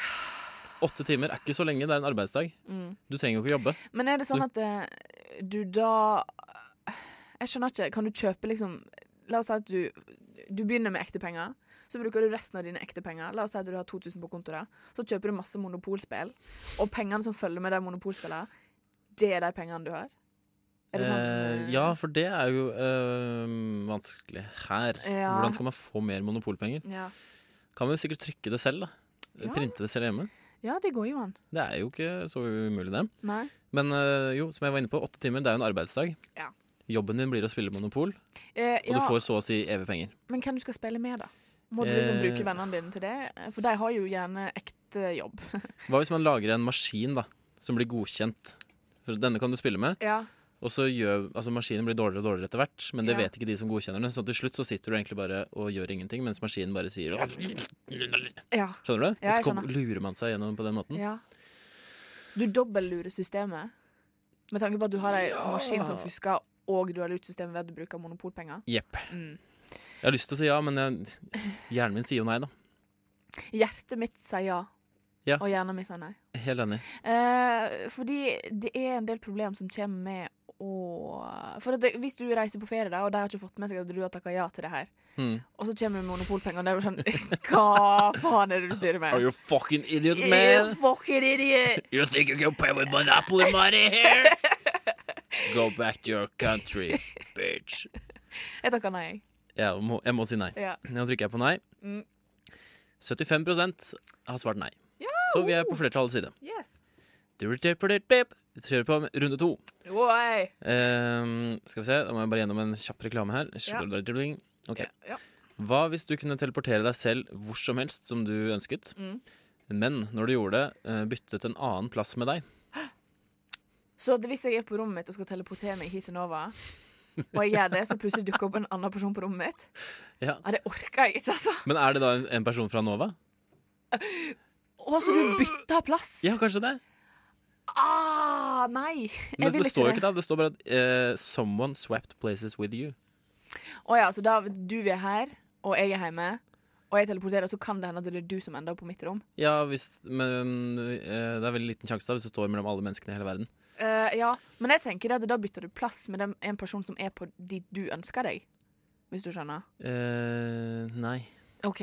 S7: Åtte timer er ikke så lenge, det er en arbeidsdag.
S6: Mm.
S7: Du trenger jo ikke jobbe.
S6: Men er det sånn
S7: Du-
S6: at eh, du da Jeg skjønner ikke. Kan du kjøpe liksom La oss si at du, du begynner med ekte penger. Så bruker du resten av dine ekte penger. La oss si at du har 2000 på kontoret. Så kjøper du masse monopolspill. Og pengene som følger med de monopolspillene, det er de pengene du har. Er det sånn?
S7: Eh, ja, for det er jo eh, vanskelig her.
S6: Ja.
S7: Hvordan skal man få mer monopolpenger?
S6: Ja.
S7: Kan man jo sikkert trykke det selv, da.
S6: Ja.
S7: Printe det selv hjemme.
S6: ja, det går jo an.
S7: Det er jo ikke så umulig, det.
S6: Nei.
S7: Men eh, jo, som jeg var inne på, åtte timer det er jo en arbeidsdag.
S6: Ja.
S7: Jobben din blir å spille Monopol,
S6: Eh,
S7: og du får så å si evige penger.
S6: Men hvem du skal spille med, da? Må du liksom
S7: Eh.
S6: bruke vennene dine til det? For de har jo gjerne ekte jobb.
S7: Hva hvis man lager en maskin da, som blir godkjent? For denne kan du spille med.
S6: Ja.
S7: Og så gjør, altså Maskinen blir dårligere og dårligere etter hvert, men det
S6: Ja.
S7: vet ikke de som godkjenner den. Så til slutt så sitter du egentlig bare og gjør ingenting, mens maskinen bare sier
S6: Ja.
S7: Skjønner du?
S6: Ja,
S7: og
S6: jeg
S7: så kom-
S6: skjønner.
S7: lurer man seg gjennom på den måten.
S6: ja. Du dobbeltlurer systemet. Med tanke på at du har ei maskin som fusker, og du har lurt systemet ved at du bruker monopolpenger.
S7: Jepp.
S6: Mm.
S7: Jeg har lyst til å si ja, men jeg, hjernen min sier jo nei, da.
S6: Hjertet mitt sier ja,
S7: Ja.
S6: og hjernen min sier nei.
S7: Helt enig.
S6: Eh, fordi det er en del problem som kommer med å For at det, hvis du reiser på ferie, da, og de har ikke fått med seg at du har takka ja til det her,
S7: Mm.
S6: og så kommer det monopolpenger, og det er jo sånn Hva faen er det du styrer med?
S7: Are you fucking idiot,
S6: You
S7: man?
S6: fucking idiot!
S7: You think you can play with Monopoly money here? Go back to your country, bitch.
S6: Jeg takker nei. jeg.
S7: Jeg må, jeg må si nei.
S6: Ja.
S7: Nå trykker jeg på nei.
S6: Mm.
S7: 75 har svart nei. Så vi er på flertallets side.
S6: Yes.
S7: Du kjører på med runde to.
S6: Oi.
S7: Ehm, skal vi se, da må jeg bare gjennom en kjapp reklame her. Ok.
S6: Ja.
S7: Hva hvis du kunne teleportere deg selv hvor som helst som du ønsket,
S6: Mm.
S7: men når du gjorde det, eh, byttet en annen plass med deg?
S6: Så at hvis jeg er på rommet mitt og skal teleportere meg hit til Nova, og jeg gjør det, så plutselig dukker opp en annen person på rommet mitt
S7: Ja.
S6: Ja, det orker jeg ikke, altså.
S7: Men er det da en, en person fra Nova?
S6: Å, så du bytter plass?
S7: Ja, kanskje det.
S6: Ah, nei.
S7: Men
S6: Jeg
S7: det,
S6: vil
S7: det står jo
S6: ikke
S7: ikke
S6: det.
S7: det. Det står bare at eh, 'someone swapped places with you'.
S6: Å ja, så da du er her, og jeg er hjemme, og jeg teleporterer, så kan det hende at det er du som ender opp på mitt rom.
S7: Ja, hvis, men eh, det er veldig liten sjanse da hvis du står mellom alle menneskene i hele verden.
S6: Eh, ja, men jeg tenker at da bytter du plass med dem, en person som er på dit du ønsker deg. Hvis du skjønner.
S7: Eh, nei.
S6: OK.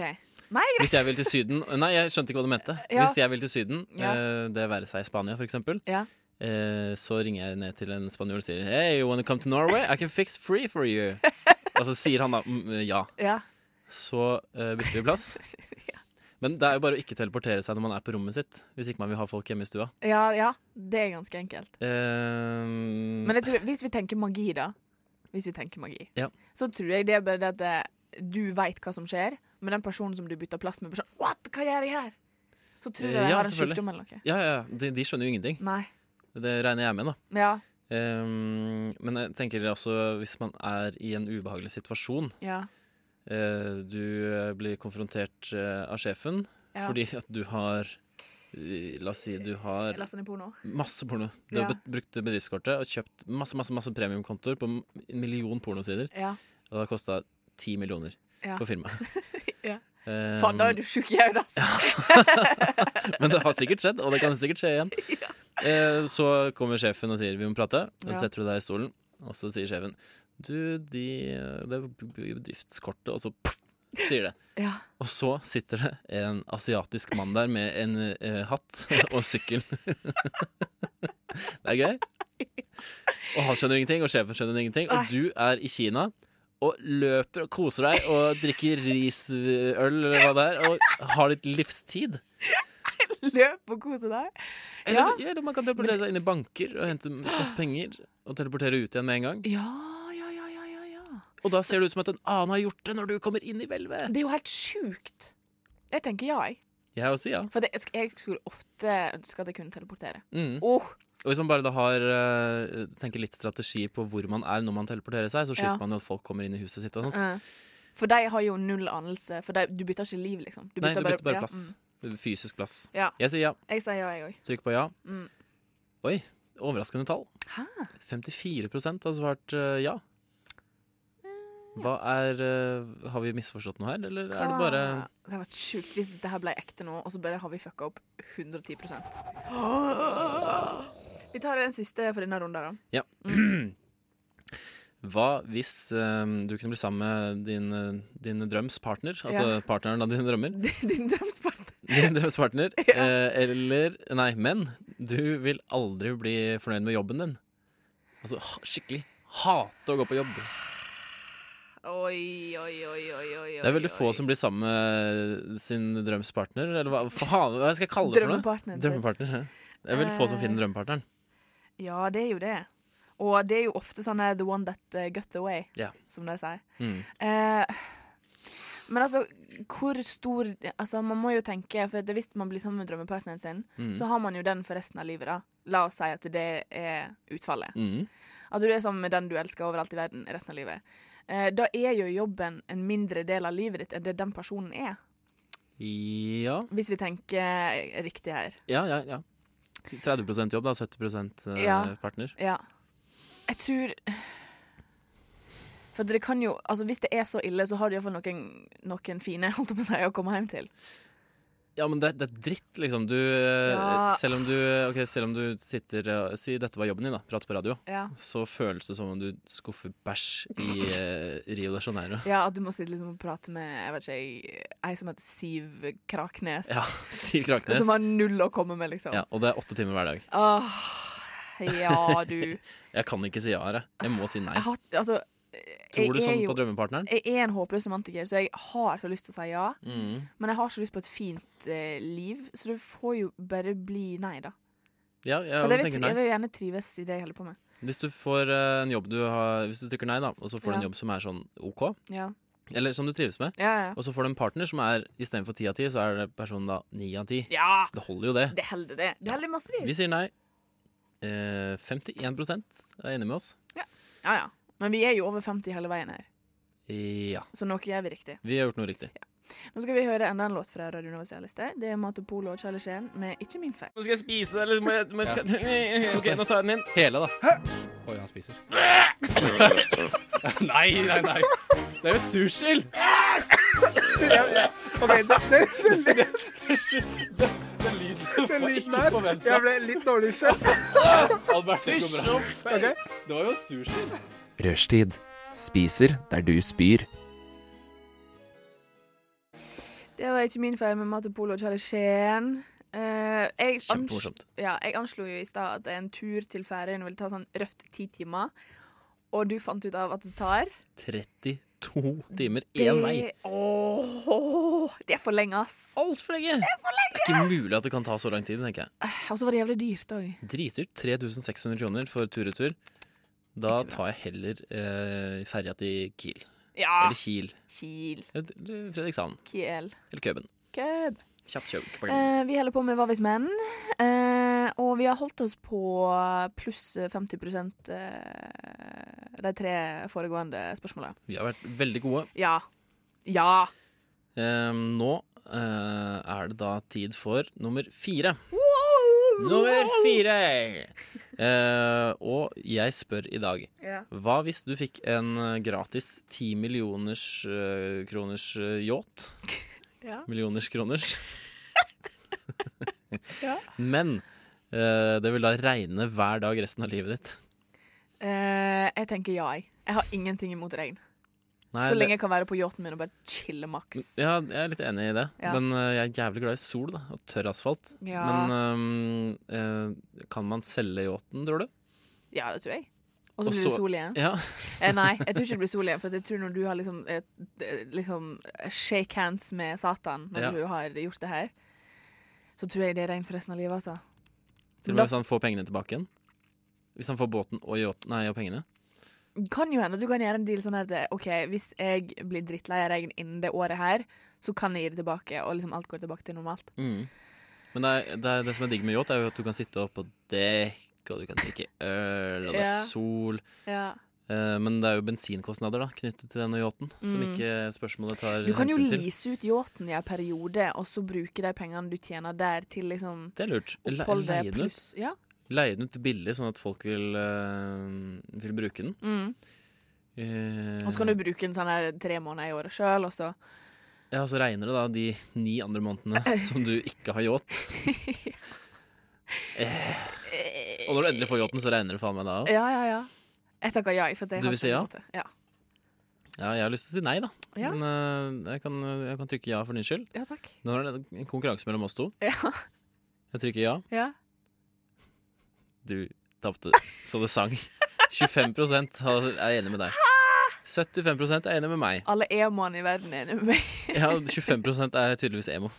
S6: Nei, greit.
S7: Hvis jeg vil til Syden Nei, jeg skjønte ikke hva du mente.
S6: Ja.
S7: Hvis jeg vil til Syden,
S6: Ja.
S7: eh, det være seg Spania f.eks.,
S6: Ja.
S7: eh, så ringer jeg ned til en spanjol og sier Hey, you wanna come to Norway? I can fix free for you. Og så sier han da mm, ja.
S6: Ja.
S7: Så eh, bytter vi plass. Men det er jo bare å ikke teleportere seg når man er på rommet sitt. Hvis ikke man vil ha folk hjemme i stua.
S6: ja, ja. Det er ganske enkelt.
S7: Eh,
S6: Men jeg tror, hvis vi tenker magi, da Hvis vi tenker magi,
S7: Ja.
S6: så tror jeg det er bare det at eh, du veit hva som skjer, men den personen som du bytter plass med, blir sånn What? Hva gjør jeg her? Så tror jeg
S7: Eh,
S6: de
S7: ja,
S6: har en
S7: selvfølgelig.
S6: sykdom eller noe.
S7: Ja, ja, ja. de, de skjønner jo ingenting.
S6: Nei.
S7: Det regner jeg med, da.
S6: Ja.
S7: Ehm, men jeg tenker også hvis man er i en ubehagelig situasjon
S6: Ja.
S7: eh, Du eh, blir konfrontert eh, av sjefen
S6: Ja.
S7: fordi at du har eh, La oss si du har
S6: Jeg laster ned porno.
S7: masse porno. Du har
S6: Ja.
S7: bet- brukt bedriftskortet og kjøpt masse masse, masse premiumkontoer på m- en million pornosider.
S6: Ja.
S7: Og det har kosta ti millioner
S6: Ja.
S7: for firmaet.
S6: Ja.
S7: Ehm,
S6: Faen, da er du sjuk i hodet, altså.
S7: Men det har sikkert skjedd, og det kan sikkert skje igjen. Eh, så kommer sjefen og sier vi må prate,
S13: Ja.
S7: og så setter du deg i stolen, og så sier sjefen du, de, det er bedriftskortet, og så pff, sier det.
S6: Ja.
S7: Og så sitter det en asiatisk mann der med en eh, hatt og sykkel. det er gøy. Og han skjønner ingenting, og sjefen skjønner ingenting,
S6: Nei.
S7: og du er i Kina. Og løper og koser deg og drikker risøl eller hva det er, og har ditt livstid.
S6: Løp og kose deg.
S7: Eller, ja. eller man kan teleportere seg inn i banker og hente masse penger. Og teleportere ut igjen med en gang.
S6: Ja, ja, ja, ja,
S7: Og da ser det ut som at en annen har gjort det når du kommer inn i hvelvet.
S6: Det er jo helt sjukt. Jeg tenker ja, jeg.
S7: Jeg også, ja.
S6: For det, jeg skulle ofte ønske at jeg kunne teleportere.
S7: Mm.
S6: Oh.
S7: Og hvis man bare da har eh, tenker litt strategi på hvor man er når man teleporterer seg, så slipper
S6: Ja.
S7: man jo at folk kommer inn i huset sitt og sånt.
S6: Eh. For de har jo null anelse. For de, du bytter ikke liv, liksom.
S7: Nei, du bytter bare
S6: ja, Mm.
S7: plass. Fysisk plass.
S6: Ja.
S7: Jeg sier ja.
S6: mm. Jeg sier ja, jeg òg.
S7: Trykk på ja.
S6: Mm.
S7: Oi, overraskende tall.
S6: Hæ?
S7: 54 har svart eh, ja.
S6: Eh.
S7: Hva er eh, Har vi misforstått noe her, eller er det bare
S6: Hva? Det hadde vært sjukt hvis dette her ble ekte nå, og så bare har vi fucka opp 110 Vi tar den siste for denne runden, da.
S7: Ja. Hva hvis eh, du kunne bli sammen med din, eh, din drømspartner, altså
S6: Ja.
S7: partneren av dine drømmer?
S6: Din drømspartner.
S7: Din drømspartner. eh, eller Nei, men du vil aldri bli fornøyd med jobben din. Altså ha- skikkelig hate å gå på jobb.
S6: Oi, oi, oi, oi, oi.
S7: Det er veldig få som blir sammen med sin drømspartner, eller hva faen hva skal jeg kalle det for noe?
S6: Drømmepartneren sin.
S7: Drømmepartner. ja. Det er veldig få som
S6: Eh.
S7: finner drømmepartneren.
S6: Ja, det er jo det. Og det er jo ofte sånne the one that uh, got away,
S7: Ja.
S6: som de sier.
S7: Mm.
S6: Eh, men altså, hvor stor Altså, man må jo tenke For det, hvis man blir sammen med drømmepartneren sin,
S7: Mm.
S6: så har man jo den for resten av livet, da. La oss si at det er utfallet.
S7: Mm.
S6: At du er sammen med den du elsker overalt i verden resten av livet. Eh, da er jo jobben en mindre del av livet ditt enn det den personen er.
S7: Ja.
S6: Hvis vi tenker riktig her.
S7: Ja, ja, ja. 30 jobb, da. 70 eh,
S6: Ja.
S7: partner.
S6: Ja. Jeg tror For det kan jo Altså, hvis det er så ille, så har du iallfall noen, noen fine holdt jeg på å, si, å komme hjem til.
S7: Ja, men det, det er dritt, liksom. Du, eh,
S6: Ja.
S7: selv, om du, ok, selv om du sitter eh, Si dette var jobben din, da. Prate på radio.
S6: Ja.
S7: Så føles det som om du skuffer bæsj i eh, Rio de Janeiro.
S6: Ja, At du må sitte liksom og prate med jeg vet ikke, jeg, ei som heter Siv Kraknes.
S7: Ja, Siv Kraknes.
S6: Som har null å komme med, liksom.
S7: Ja, og det er åtte timer hver dag.
S6: Åh, ja, du.
S7: jeg kan ikke si ja her. jeg. Jeg må si nei.
S6: Jeg har, altså, jeg
S7: Tror du
S6: er
S7: sånn
S6: jo-
S7: på drømmepartneren?
S6: Jeg er en håpløs romantiker, så jeg har så lyst til å si ja.
S7: Mm.
S6: Men jeg har så lyst på et fint eh, liv, så du får jo bare bli nei, da.
S7: Ja, jeg,
S6: For jeg, vil-
S7: tenker
S6: jeg
S7: nei.
S6: vil gjerne trives i det jeg holder på med.
S7: Hvis du får eh, en jobb du har Hvis du trykker nei, da, og så får du
S6: Ja.
S7: en jobb som er sånn OK,
S6: Ja.
S7: eller som du trives med,
S6: Ja, ja.
S7: og så får du en partner som er istedenfor ti av ti, så er det personen da ni av ti.
S6: Ja!
S7: Det holder jo, det.
S6: Det holder, det. Det holder massevis.
S7: Vi sier nei. Eh, 51 er enig med oss.
S6: Ja, ja. Men vi er jo over 50 hele veien her,
S7: Ja.
S6: så noe gjør vi riktig.
S7: Vi har gjort noe riktig.
S6: Nå skal vi høre enda en låt fra Radio Novas liste. Det er Mato Polo og Charlie Sheen med Ikke min feil.
S7: Nå skal jeg spise det, eller må jeg må jeg-
S6: Ja.
S7: Ok, nå tar jeg den inn. Hele, da.
S10: Oi, han spiser.
S7: nei, nei, nei. Det er jo sursild!
S10: Den lyden Den lyden der. Jeg ble litt dårlig selv.
S7: Albert, det går bra. Det var jo sursild.
S13: Rushtid. Spiser der du spyr.
S6: Det var Ikke min feil med Mato Polo og Charlie Sheen. Eh, jeg ans-
S7: Kjempemorsomt.
S6: Ja, jeg anslo jo i stad at en tur til Færøyene ville ta sånn røft ti timer. Og du fant ut av at det tar
S7: 32 timer én vei.
S6: Det, Åh, det er for lenge, ass.
S7: Altfor lenge! Det
S6: er for lenge.
S7: Det er ikke mulig at det kan ta så lang tid, tenker jeg.
S6: Og så var det jævlig dyrt òg.
S7: Dritdyrt. 3600 kroner for tur-retur. Da tar jeg heller eh, ferja til Kiel.
S6: Ja.
S7: Eller Kiel.
S6: Kiel.
S7: Eller Fredrikshavn.
S6: Kiel.
S7: Eller Køben.
S6: Kødd.
S7: Kjapt kjøp.
S6: Eh, vi holder på med Hva hvis menn, eh, og vi har holdt oss på pluss 50 eh, de tre foregående spørsmåla.
S7: Vi har vært veldig gode.
S6: Ja. Ja.
S7: Eh, nå eh, er det da tid for nummer fire. Nummer fire! Eh, og jeg spør i dag
S6: Ja.
S7: Hva hvis du fikk en eh, gratis 10 millioners eh, kroners eh, yacht?
S6: Ja.
S7: Millioners kroners.
S6: Ja.
S7: Men eh, det vil da regne hver dag resten av livet ditt.
S6: Eh, jeg tenker ja, jeg. Jeg har ingenting imot regn.
S7: Nei,
S6: Så
S7: det-
S6: lenge jeg kan være på yachten min og bare chille maks.
S7: Ja, jeg er litt enig i det.
S6: Ja.
S7: Men eh, jeg er jævlig glad i sol da, og tørr asfalt.
S6: Ja.
S7: Men eh, eh, kan man selge yachten, tror du?
S6: Ja, det tror jeg. Og så
S7: Og
S6: blir det
S7: så-
S6: sol igjen.
S7: Ja.
S6: eh, nei, jeg tror ikke det blir sol igjen. For jeg tror når du har liksom, eh, eh, liksom shake hands med Satan når
S7: Ja.
S6: du har gjort det her, så tror jeg det er regn for resten av livet, altså.
S7: Til og
S6: Da-
S7: med hvis han får pengene tilbake igjen. Hvis han får båten og yachten, nei, og pengene.
S6: kan jo hende at du kan gjøre en deal sånn at eh, OK, hvis jeg blir drittlei av regn innen det året her, så kan jeg gi det tilbake, og liksom alt går tilbake til normalt.
S7: Mm. Men det, er, det, er, det som er digg med yacht, er jo at du kan sitte oppå dekk, og du kan drikke øl, og
S6: Ja.
S7: det er sol.
S6: Ja.
S7: Eh, Men det er jo bensinkostnader da, knyttet til denne yachten, som
S6: Mm.
S7: ikke spørsmålet tar
S6: Du kan jo
S7: hensyn til.
S6: lease ut yachten i en periode, og så bruke de pengene du tjener der, til liksom
S7: Det er lurt. Le
S6: oppholdet
S7: leie den ut.
S6: pluss Ja.
S7: Leie den ut billig, sånn at folk vil, eh, vil bruke den.
S6: Mm.
S7: Eh,
S6: Og så kan du bruke den sånn her tre måneder i året sjøl, og så
S7: Ja, og så regner det da de ni andre månedene som du ikke har yacht. Eh, og når du endelig får yachten, så regner det faen meg da òg.
S6: Ja, ja, ja. Jeg takker ja. For det
S7: Du
S6: har
S7: vil si
S6: ikke
S7: ja?
S6: noe til. ja?
S7: Ja, jeg har lyst til å si nei, da.
S6: Ja.
S7: Men eh, jeg, kan, jeg kan trykke ja for din skyld.
S6: Ja, takk.
S7: Nå er det en konkurranse mellom oss to.
S6: Ja.
S7: Jeg trykker ja.
S6: ja.
S7: Du tapte så det sang. 25 har- er enig med deg. 75 er enig med meg.
S6: Alle emoene i verden er enig med meg.
S7: Ja, 25 er tydeligvis emo.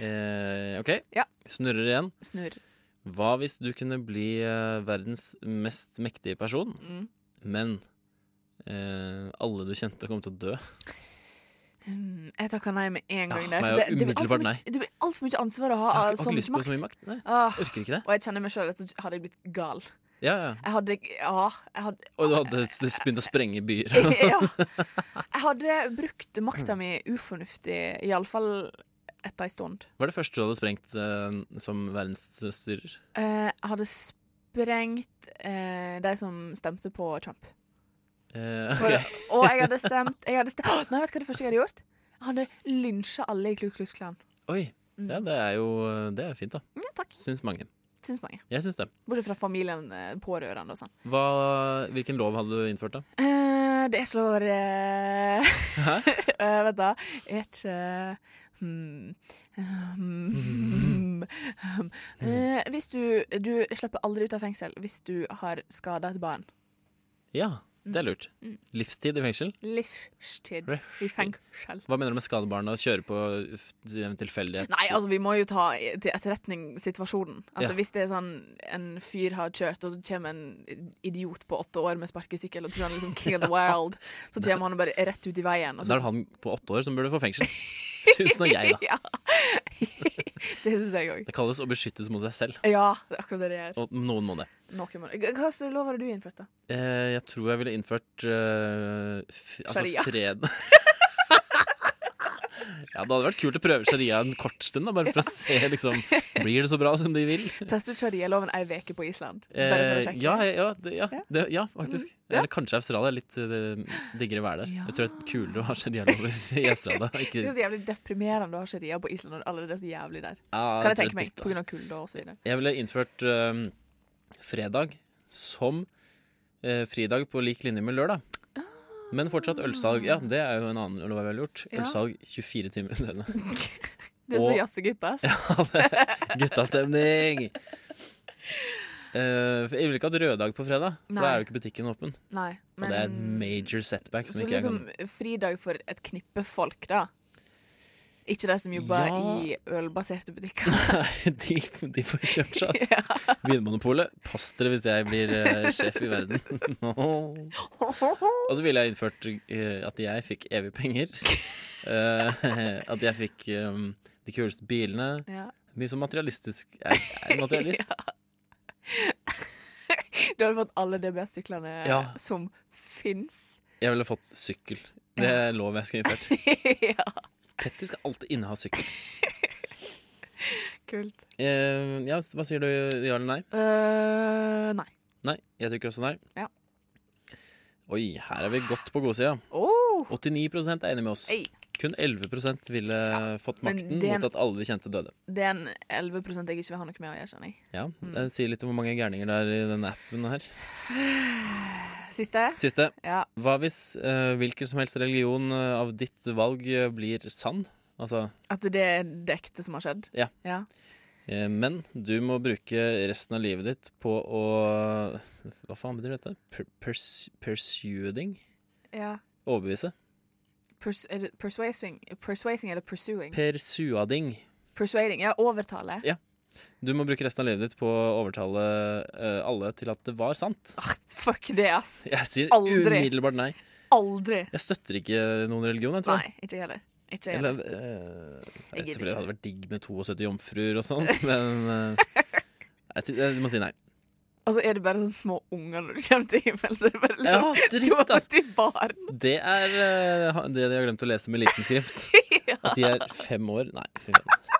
S7: Eh, OK,
S6: Ja.
S7: snurrer igjen.
S6: Snurr.
S7: Hva hvis du kunne bli eh, verdens mest mektige person,
S6: Mm.
S7: men eh, alle du kjente kom til å dø?
S6: Mm, Jeg takker nei med en
S7: Ja,
S6: gang der.
S7: Ah, nei,
S6: for det- det blir
S7: umiddelbart
S6: altfor mye-
S7: nei.
S6: Det blir altfor mye ansvar å ha
S7: Jeg har
S6: av
S7: ikke- har
S6: så
S7: ikke
S6: mye
S7: lyst
S6: sånn
S7: på
S6: makt.
S7: så mye makt, nei.
S6: Åh.
S7: Orker ikke det.
S6: Og jeg kjenner meg sjøl at så hadde jeg blitt gal.
S7: Ja, ja.
S6: Jeg hadde Ja. Jeg hadde,
S7: Og du hadde s- begynt å sprenge byer.
S6: ja. jeg hadde brukt makta mi ufornuftig, iallfall etter en stund.
S7: Hva er det første du hadde sprengt eh, som verdensstyrer?
S6: Eh, Jeg hadde sprengt eh, de som stemte på Trump.
S7: Eh,
S6: For,
S7: ok.
S6: og jeg hadde stemt, jeg hadde stemt Nei, vet du hva det første jeg hadde gjort? Jeg hadde lynsja alle i Klu Klux Klan. Mm.
S7: Oi. Ja, det er jo det er jo fint, da. Syns mange.
S6: Syns mange.
S7: Jeg syns det.
S6: Bortsett fra familien, eh, pårørende og sånn.
S7: Hva, hvilken lov hadde du innført, da?
S6: Eh, det slår eh, eh, Vent, da. Er ikke hmm,
S7: Mm.
S6: hmm, hmm. Eh, Hvis du Du slipper aldri ut av fengsel hvis du har skada et barn.
S7: Ja, det er lurt.
S6: Mm.
S7: Livstid i fengsel?
S6: Livstid i fengsel.
S7: Hva mener du med skadebarn og kjøre på f- en tilfeldighet?
S6: Nei, altså vi må jo ta i- til etterretning situasjonen. At
S7: Ja.
S6: Hvis det er sånn en fyr har kjørt, og så kommer en idiot på åtte år med sparkesykkel og tror han liksom king of the world, så kommer han bare rett ut i veien. Og
S7: Da er det
S6: så,
S7: han på åtte år som burde få fengsel. Syns nå jeg, da.
S6: ja. det syns jeg òg.
S7: Det kalles å beskyttes mot seg selv.
S6: Ja, det er akkurat det det gjør.
S7: Og noen må det.
S6: Noen må- Hva slags lov har du innført, da?
S7: Eh, jeg tror jeg ville innført eh, f altså
S6: Sharia.
S7: fred Ja, det hadde vært kult å prøve sharia en kort stund, da, bare for å se liksom, blir det så bra som de vil.
S6: Test ut sharialoven ei uke på Island. Bare for å
S7: Eh,
S6: sjekke. Mm,
S7: ja, ja, det, ja, det, ja, faktisk. Eller kanskje Australia. er Litt eh, diggere vær der. Jeg tror det er kulere å ha sharialover i Australia.
S6: Det er
S7: Ikke,
S6: så jævlig deprimerende å ha sharia på Island når det allerede er så jævlig der.
S7: Ja,
S6: kan jeg
S7: Ah, det er
S6: tenke meg,
S7: dritt, ass.
S6: pga. kulde og så videre.
S7: jeg ville innført eh, fredag som eh, fridag på lik linje med lørdag. Men fortsatt ølsalg. Ja, det er jo en annen lov jeg ville gjort.
S6: Ja.
S7: Ølsalg 24 timer i døgnet.
S6: Det er så
S7: Og-
S6: jazzegutta, ass.
S7: Guttastemning! Eh, for jeg vil ikke ha et røddag på fredag, for da
S6: Nei.
S7: er jo ikke butikken åpen.
S6: Nei,
S7: Og det er
S6: men-
S7: en major setback som
S6: Så
S7: ikke jeg kan
S6: liksom fridag for et knippe folk, da. Ikke de som jobber
S7: Ja.
S6: i ølbaserte butikker.
S7: Nei, de, de får kjørt seg, altså. Vinmonopolet, pass dere hvis jeg blir eh, sjef i verden. Og så ville jeg innført eh, at jeg fikk evig penger. Eh, at jeg fikk eh, de kuleste bilene.
S6: Ja.
S7: Mye sånn materialistisk. Jeg er en materialist.
S6: Du hadde fått alle DBS-syklene
S7: Ja.
S6: som fins.
S7: Jeg ville fått sykkel. Det er lov jeg skal innført. Petter skal alltid inneha sykkel.
S6: Kult.
S7: Eh, ja, hva sier du, ja eller nei?
S6: Eh, nei.
S7: Nei, jeg trykker også nei.
S6: Ja.
S7: Oi, her er vi godt på godsida.
S6: Oh.
S7: 89 er enig med oss.
S6: Ei.
S7: Kun 11 ville fått
S6: men
S7: makten
S6: det er en-
S7: mot at alle de kjente døde.
S6: Det er en 11 jeg ikke vil ha noe med å gjøre, kjenner jeg.
S7: Ja,
S6: Mm.
S7: Det sier litt om hvor mange gærninger det er i denne appen her.
S6: Siste?
S7: Siste.
S6: Ja.
S7: Hva hvis eh, hvilken som helst religion eh, av ditt valg eh, blir sann? Altså,
S6: At det er det ekte som har skjedd?
S7: ja.
S6: Ja.
S7: Eh, Men du må bruke resten av livet ditt på å Hva faen betyr dette? Per pers persuading?
S6: ja.
S7: Overbevise?
S6: Pers er det persuasing? Persuasing eller pursuing?
S7: Persuading.
S6: Persuading. Ja, overtale.
S7: Ja. Du må bruke resten av livet ditt på å overtale eh, alle til at det var sant.
S6: Ah, Fuck det, ass.
S7: Jeg sier
S6: Aldri.
S7: umiddelbart nei.
S6: Aldri.
S7: Jeg støtter ikke noen religion, jeg tror
S6: Nei, ikke jeg heller. Ikke jeg
S7: Eller,
S6: heller.
S7: eh,
S6: Jeg gidder
S7: selvfølgelig det
S6: ikke.
S7: hadde vært digg med 72 jomfruer og sånt, men eh, jeg, tror- jeg må si nei.
S6: Altså, er det bare sånne små unger når du kommer til himmelen? Så er det bare
S7: Ja,
S6: liksom, du sånn- har fått i barn.
S7: Det er eh, ha- det de har glemt å lese med liten skrift. At de er fem år. Nei. fy faen.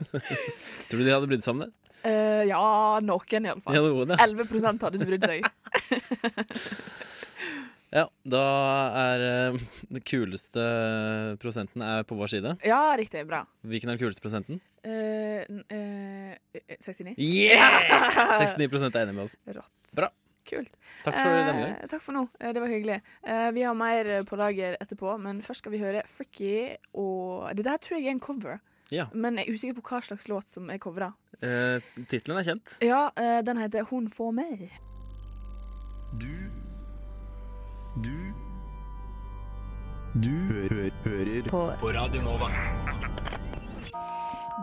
S7: tror du de hadde brydd seg om det?
S6: Eh, ja, noen iallfall.
S7: Ja, noen, ja.
S6: 11 hadde ikke brydd seg.
S7: Ja, da er eh, den kuleste prosenten er på vår side.
S6: Ja, riktig. Bra.
S7: Hvilken er den kuleste prosenten?
S6: Eh, n- eh, 69. Eh.
S7: Yeah! 69 er enig med oss. Bra.
S6: Kult.
S7: Takk for
S6: Eh,
S7: denne gang.
S6: Takk for nå. Eh, Det var hyggelig. Eh, vi har mer eh, på lager etterpå, men først skal vi høre Fricky og Det der tror jeg er en cover,
S7: Ja.
S6: men jeg er usikker på hva slags låt som er covra.
S7: Uh, Tittelen er kjent.
S6: Ja, eh, den heter Hun får meg.
S12: Du Du hø hø hører
S8: På-
S12: på Radio Nova.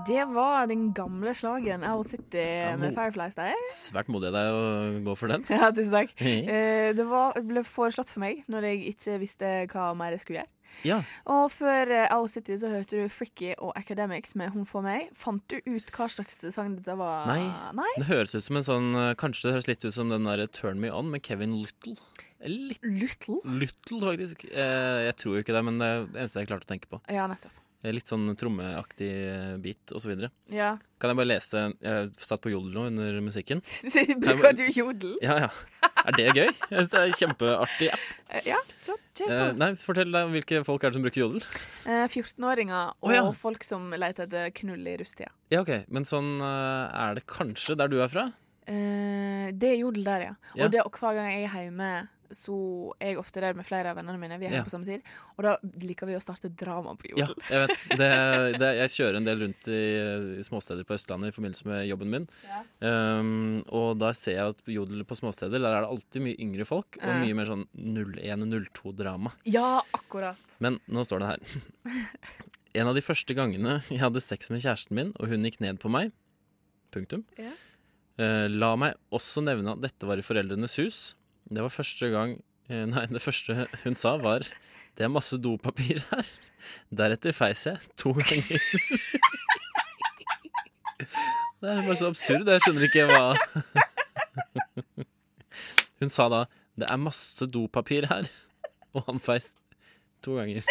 S6: Det var den gamle slagen Owl City med
S7: nå-
S6: Fireflies der.
S7: Svært modig av deg å gå for den.
S6: Ja, tusen takk.
S7: Hei.
S6: Eh, det var, ble foreslått for meg når jeg ikke visste hva mer jeg skulle gjøre.
S7: Ja.
S6: Og før eh, Owl City så hørte du Fricky og Academics med Hun får meg. Fant du ut hva slags sang dette var?
S7: Nei.
S6: Nei?
S7: Det høres ut som en sånn eh, Kanskje det høres litt ut som den der Turn Me On med Kevin Lyttle. Litt
S6: Lyttle?
S7: Lyttle, faktisk. Eh, jeg tror jo ikke det, men det er det eneste jeg klarte å tenke på.
S6: Ja, nettopp.
S7: Eh, Litt sånn trommeaktig eh, beat og så videre.
S6: Ja.
S7: Kan jeg bare lese Jeg satt på jodel nå under musikken.
S6: Bruker du jodel?
S7: Ja, ja. Er det gøy? Jeg synes det er en kjempeartig app.
S6: Eh, Ja, flott. Kjør
S7: Eh,
S6: på.
S7: nei, fortell deg hvilke folk er det som bruker jodel.
S6: Eh, 14-åringer og
S7: Å, ja.
S6: folk som leter etter knull i rusttida.
S7: Ja, ok, Men sånn eh, er det kanskje der du er fra?
S6: Eh, det er jodel der, ja. Og,
S7: Ja.
S6: det, og hver gang jeg er hjemme, så er jeg ofte der med flere av vennene mine. Vi er hjemme
S7: Ja.
S6: på samme tid. Og da liker vi å starte drama på
S7: Ja,
S6: jodel.
S7: jeg vet. Det, det, jeg kjører en del rundt i, i småsteder på Østlandet i forbindelse med jobben min. Um, og da ser jeg at på Jodel på småsteder der er det alltid mye yngre folk og
S6: Ja.
S7: mye mer sånn 01-02-drama.
S6: Ja, akkurat.
S7: Men nå står det her. En av de første gangene jeg hadde sex med kjæresten min, og hun gikk ned på meg Punktum.
S6: Ja.
S7: Eh, la meg også nevne at dette var i Foreldrenes hus. Det var første gang eh, Nei, det første hun sa, var Det er masse dopapir her. Deretter feis jeg to ganger. Det er bare så absurd. Jeg skjønner ikke hva Hun sa da 'Det er masse dopapir her', og han feis to ganger.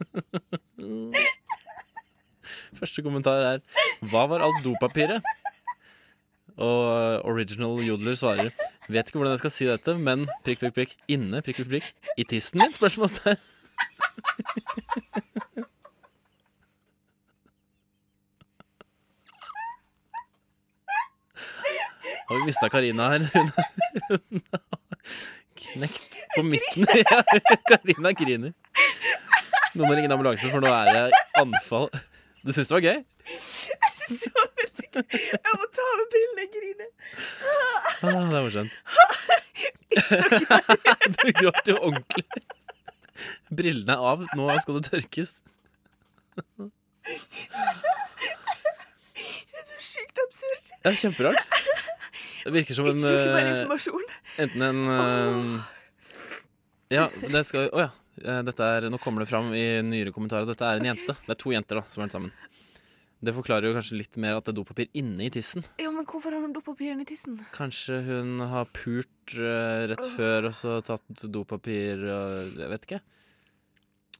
S7: Første kommentar er Hva var alt dopapiret? Og eh, original jodler svarer Vet ikke hvordan jeg skal si dette, men prikk, prikk, prikk Inne, prikk, prikk, prikk I tissen din, spørsmålstegn Har vi mistet Karina her? Hun, hun har knekt på midten Ja, Karina griner Nå må jeg ringe en ambulanse, for nå er det anfall Du synes det var gøy?
S6: Jeg må ta med brillene, jeg griner.
S7: Ah, det er morsomt.
S6: Ikke
S7: du gråt jo ordentlig. Brillene er av, nå skal det tørkes.
S6: Det er så sjukt absurd.
S7: Det er kjemperart. Det virker som en
S6: Ikke noe mer
S7: eh,
S6: informasjon.
S7: Enten en eh, Ja, det skal Å ja. Eh, Dette er, nå kommer det fram i nyere kommentarer at dette er en jente. Det er to jenter da, som er sammen. Det forklarer jo kanskje litt mer at det er dopapir inne i tissen.
S6: Ja, men hvorfor har hun dopapirene i tissen?
S7: Kanskje hun har pult eh, rett før og så tatt dopapir og Jeg vet ikke.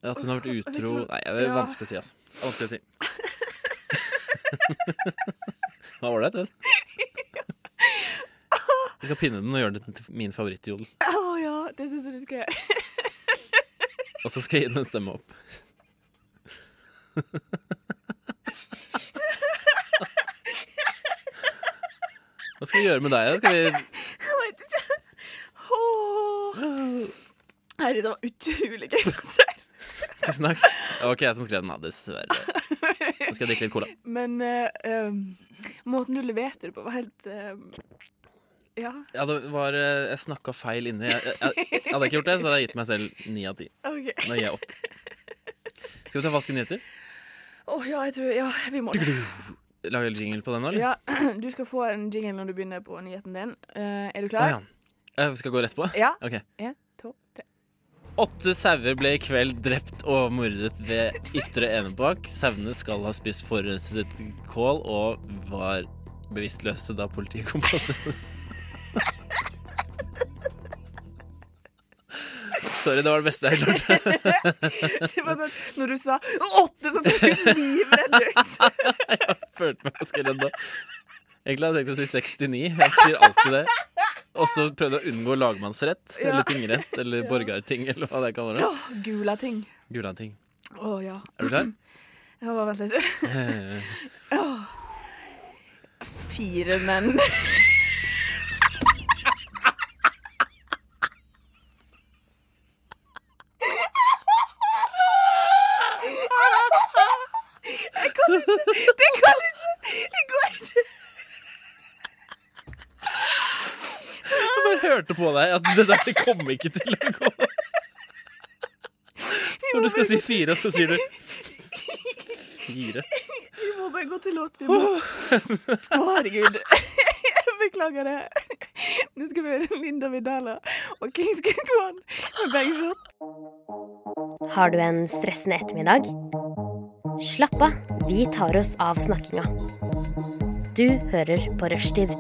S7: At hun har vært
S12: Hvis
S7: utro
S12: hun-
S7: Nei, det er
S12: ja.
S7: vanskelig å si, altså. Det er Vanskelig å si. Hva var det, den? Jeg skal pinne den og gjøre den til min favorittjodel.
S6: Å ja, det syns jeg du skal gjøre.
S7: Og så skal jeg gi den en stemme opp. Hva skal vi gjøre med deg? da? Skal vi
S6: Jeg vet ikke. Åh. Nei, det var utrolig gøy. konsert.
S7: Tusen takk. Det var ikke jeg som skrev den, da, dessverre. Nå skal jeg drikke litt cola.
S6: Men eh, em, måten du leverte det på, var helt em, Ja.
S7: Ja, det var, eh, jeg snakka feil inni. Jeg, jeg, jeg, hadde jeg ikke gjort det, så hadde jeg gitt meg selv ni av ti.
S6: Ok.
S7: Nå gir jeg åtte. Skal vi ta falske nyheter?
S6: Å ja, jeg tror Ja, vi må det.
S7: lage jingle på den nå, eller?
S6: Ja, du skal få en jingle når du begynner på nyheten din. Eh, er du
S7: Å,
S6: klar?
S7: ja. Eh, Skal jeg gå rett på?
S6: Ja.
S7: Ok.
S6: En, to, tre.
S7: Åtte sauer ble i kveld drept og mordet ved Ytre Enebakk. Sauene skal ha spist forurenset kål og var bevisstløse da politiet kom på stedet. Sorry, det var det beste jeg klarte.
S6: Det var sånn, når du sa åtte, så tok du livredd ut.
S7: jeg følte meg ganske redd da. Egentlig hadde jeg tenkt å si 69. Jeg sier alltid det. Og så prøvde jeg å unngå lagmannsrett
S6: Ja.
S7: eller tingrett eller
S6: Ja.
S7: borgarting eller hva det kan være.
S6: Åh, gula ting.
S7: Gulating.
S6: Å ja.
S7: Er du klar?
S6: Ja, bare vent litt. Åh. Fire menn. Jeg kan ikke. Det kan ikke. Det går ikke.
S7: Jeg bare hørte på deg at det der kom ikke til å gå. Når du skal si fire, så sier du fire.
S6: Vi må bare gå til låt. Vi må. Å, herregud. Jeg beklager det. Nå skal vi høre Linda Vidala og Kings Kwan med Bangshot.
S14: Har du en stressende ettermiddag? Slapp av, vi tar oss av snakkinga. Du hører på Rushtid.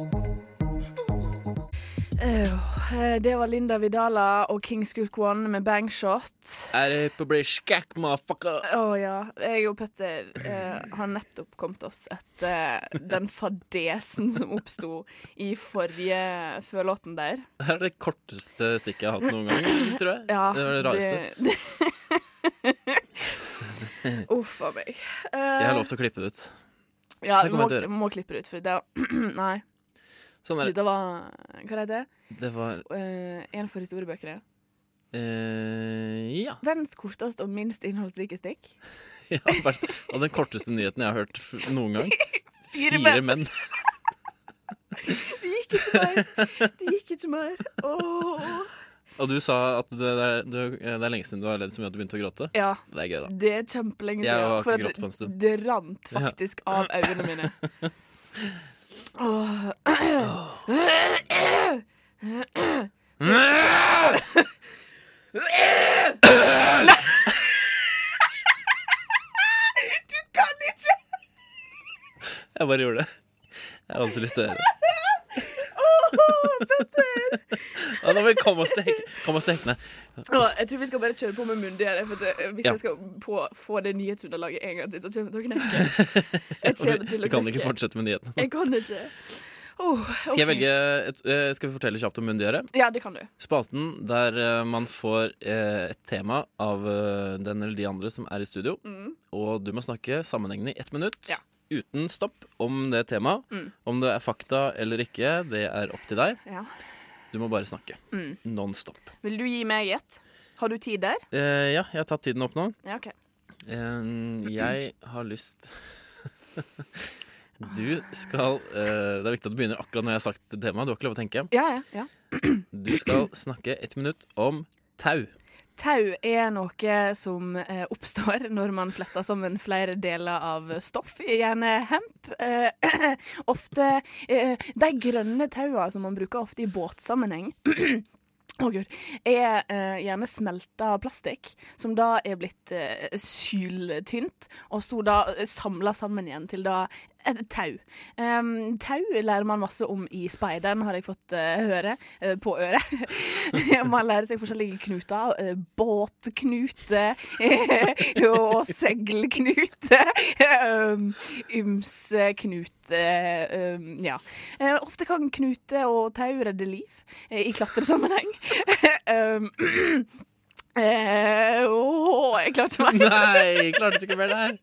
S6: Eh, Det var Linda Vidala og Kings Kwan med Bangshot.
S7: Er det på bli skakk, motherfucker?
S6: Å ja. Jeg og Petter eh, har nettopp kommet oss etter den fadesen som oppsto i forrige før låten der.
S7: Det er det korteste stikket jeg har hatt noen gang, tror jeg.
S6: Ja,
S7: det var det rareste.
S6: Uff a meg. Eh,
S7: Jeg har lov til å klippe det ut.
S6: Ja, vi
S7: Så det kommer
S6: må,
S7: jeg til å gjøre.
S6: må klippe det ut, for det Nei.
S7: Sånn er det.
S6: Det var Hva heter det?
S7: Det var
S6: Eh, en for historiebøkene.
S7: eh, Ja.
S6: Verdens korteste og minst innholdsrike stikk.
S7: Ja, bare- Og den korteste nyheten jeg har hørt f- noen gang.
S6: Fire
S7: Fire
S6: menn.
S7: menn.
S6: Det gikk ikke mer. Det gikk ikke mer. Åh.
S7: Og du sa at det er, du, det er lenge siden du har ledd så mye at du begynte å gråte.
S6: Ja.
S7: Det er gøy, da.
S6: Det er kjempelenge
S7: Jeg
S6: siden.
S7: har ikke
S6: for
S7: grått
S6: det-
S7: på en stund.
S6: Det rant faktisk av øynene mine. Åh. Du kan ikke!
S7: Jeg bare gjorde det. Jeg hadde så lyst til å gjøre det. Ja, da må vi komme oss til hek- komme oss til hektene.
S6: Åh, jeg tror vi skal bare kjøre på med myndigere. For det, hvis
S7: Ja.
S6: jeg skal på, få det nyhetsunderlaget en gang til, så kommer jeg til å knekke. Jeg kommer til å
S7: Vi kan ikke
S6: knekke.
S7: fortsette med nyhetene.
S6: Jeg kan ikke. Åh,
S7: Skal jeg
S6: ok.
S7: velge et, eh, Skal vi fortelle kjapt om Mundiøret?
S6: Ja, det kan du.
S7: Spalten der eh, man får eh, et tema av eh, den eller de andre som er i studio.
S6: Mm.
S7: Og du må snakke sammenhengende i ett minutt uten stopp om det temaet.
S6: Mm.
S7: Om det er fakta eller ikke, det er opp til deg.
S6: Ja.
S7: Du må bare snakke.
S6: Mm.
S7: Non stop.
S6: Vil du gi meg et? Har du tid der?
S7: Eh, ja, jeg har tatt tiden opp nå.
S6: Ja, OK.
S7: Eh, jeg har lyst Du skal eh, Det er viktig at du begynner akkurat når jeg har sagt temaet. Du har ikke lov å tenke.
S6: Ja, ja, ja.
S7: Du skal snakke ett minutt om tau.
S6: Tau er noe som eh, oppstår når man fletter sammen flere deler av stoff, gjerne hemp. Eh, ofte eh, De grønne taua som man bruker ofte i båtsammenheng, Å Gud, er eh, gjerne smelta plastikk, som da er blitt eh, syltynt, og så da samla sammen igjen til da et tau. Em, tau lærer man masse om i speideren, har jeg fått eh, høre eh, på øret. man lærer seg forskjellige knuter. eh, båtknute og seilknute. Um, ymse knute um, Ja. Eh, ofte kan knute og tau redde liv eh, i klatresammenheng. um, eh, åh, jeg klarte meg.
S7: Nei, klarte ikke mer der.